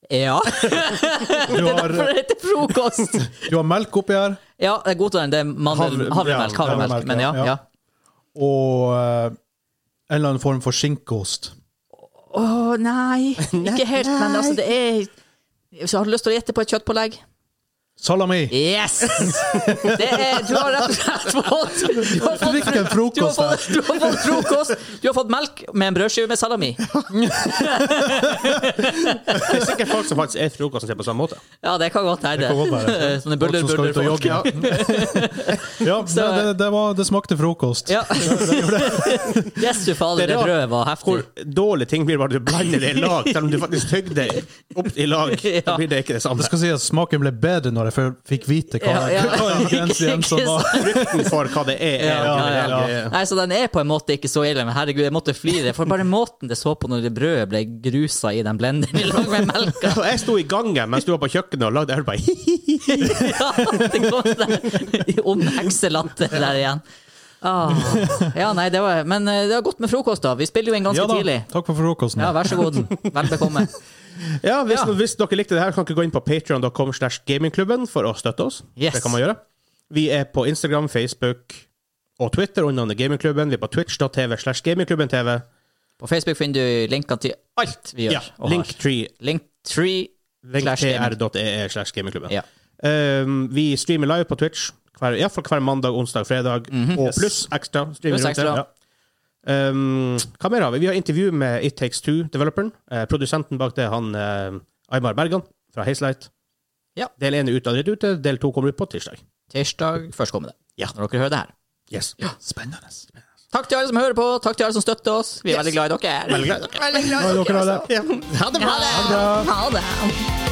S2: ja.
S3: Du har,
S2: For det heter frokost.
S3: du har melk oppi her,
S2: Ja, jeg godtar den. Det er mandel,
S3: Havre-
S2: havremelk,
S3: ja,
S2: havremelk.
S3: havremelk,
S2: Men ja,
S3: ja.
S2: ja.
S3: og eh, en eller annen form for skinkeost.
S2: Å nei, ikke helt, men altså, det er Hvis du har lyst til å gjette på et kjøttpålegg
S3: Salami!
S2: Yes! Det er, du har rett og slett fått Du har fått,
S3: Fikk en
S2: du har
S3: frokost her.
S2: fått, du har fått frokost, du har fått melk med en brødskive med salami.
S1: Det er sikkert folk som faktisk spiser frokosten sin på samme måte.
S2: Ja, det kan godt hende.
S3: Det kan godt være.
S2: Sånne
S3: Folk som skal ut og
S2: buller-buller-folk.
S3: jogge. Ja,
S2: Så-
S3: nei, det, det, var, det smakte frokost.
S2: Ja. Yes, du fader,
S1: Det er
S2: det
S1: rart
S2: brødet var
S1: Hvor
S2: heftig.
S1: dårlige ting blir bare du blander det i lag, selv om du faktisk tygger det opp i lag. Da blir det ikke det samme.
S3: Det skal si at smaken ble bedre når jeg før- fikk vite hva
S2: Ja, ja.
S3: hva ingrediensene
S2: Ikke
S3: var.
S1: Frykten for hva det er. er
S2: Ja,
S1: en
S3: ja,
S1: generell
S3: ja.
S1: greie.
S2: Nei, så den er på en måte ikke så ille, men herregud, jeg måtte flire. For bare måten det så på når det brødet ble grusa i den blenderen i lag med melka.
S1: Og jeg sto i gangen mens du var på kjøkkenet og lagde jeg hørte bare hi-hi-hi.
S2: Ja, det kom der. Om hekselatter der igjen. Ah. Ja, nei, det var Men eh, det var godt med frokost, da. Vi spiller jo inn ganske
S3: Ja da,
S2: tidlig.
S3: takk for frokosten.
S2: Ja, vær så god. Vel bekomme.
S1: Ja, hvis,
S2: Ja.
S1: hvis dere likte det her, kan dere gå inn på patreon.com slash gamingklubben for å støtte oss.
S2: Yes.
S1: Det kan man gjøre. Vi er på Instagram, Facebook og Twitter under navnet Gamingklubben. Vi er på twitch.tv slash gamingklubben TV.
S2: På Facebook finner du linkene til alt vi gjør.
S1: Ja,
S2: og har.
S1: linktree.
S2: Linktree slash gaming.
S1: Linktr.ee e slash gamingklubben.
S2: Ja.
S1: Um, vi Ehm, streamer live på Twitch hver, i hvert fall hver mandag, onsdag, fredag, og pluss ekstra. streaming
S2: Mhm. Pluss
S1: rundt det.
S2: ekstra.
S1: Um, hva mer har vi? Vi har intervju med It Takes Two-developeren. Eh, produsenten bak det, han eh, Aymar Bergan fra Hazelight.
S2: Ja.
S1: Del én er ute allerede ute, del to kommer ut på tirsdag.
S2: Tirsdag førstkommende.
S1: Ja.
S2: Når dere hører det her.
S1: Yes.
S3: Spennende.
S2: Takk til alle som hører på, takk til alle som støtter oss. Vi er
S1: Yes.
S2: veldig glad i dere.
S1: Veldig glad i dere.
S2: Veldig glad i
S3: Ha
S2: dere.
S3: dere ha det.
S2: altså. Ha det bra. Ha det.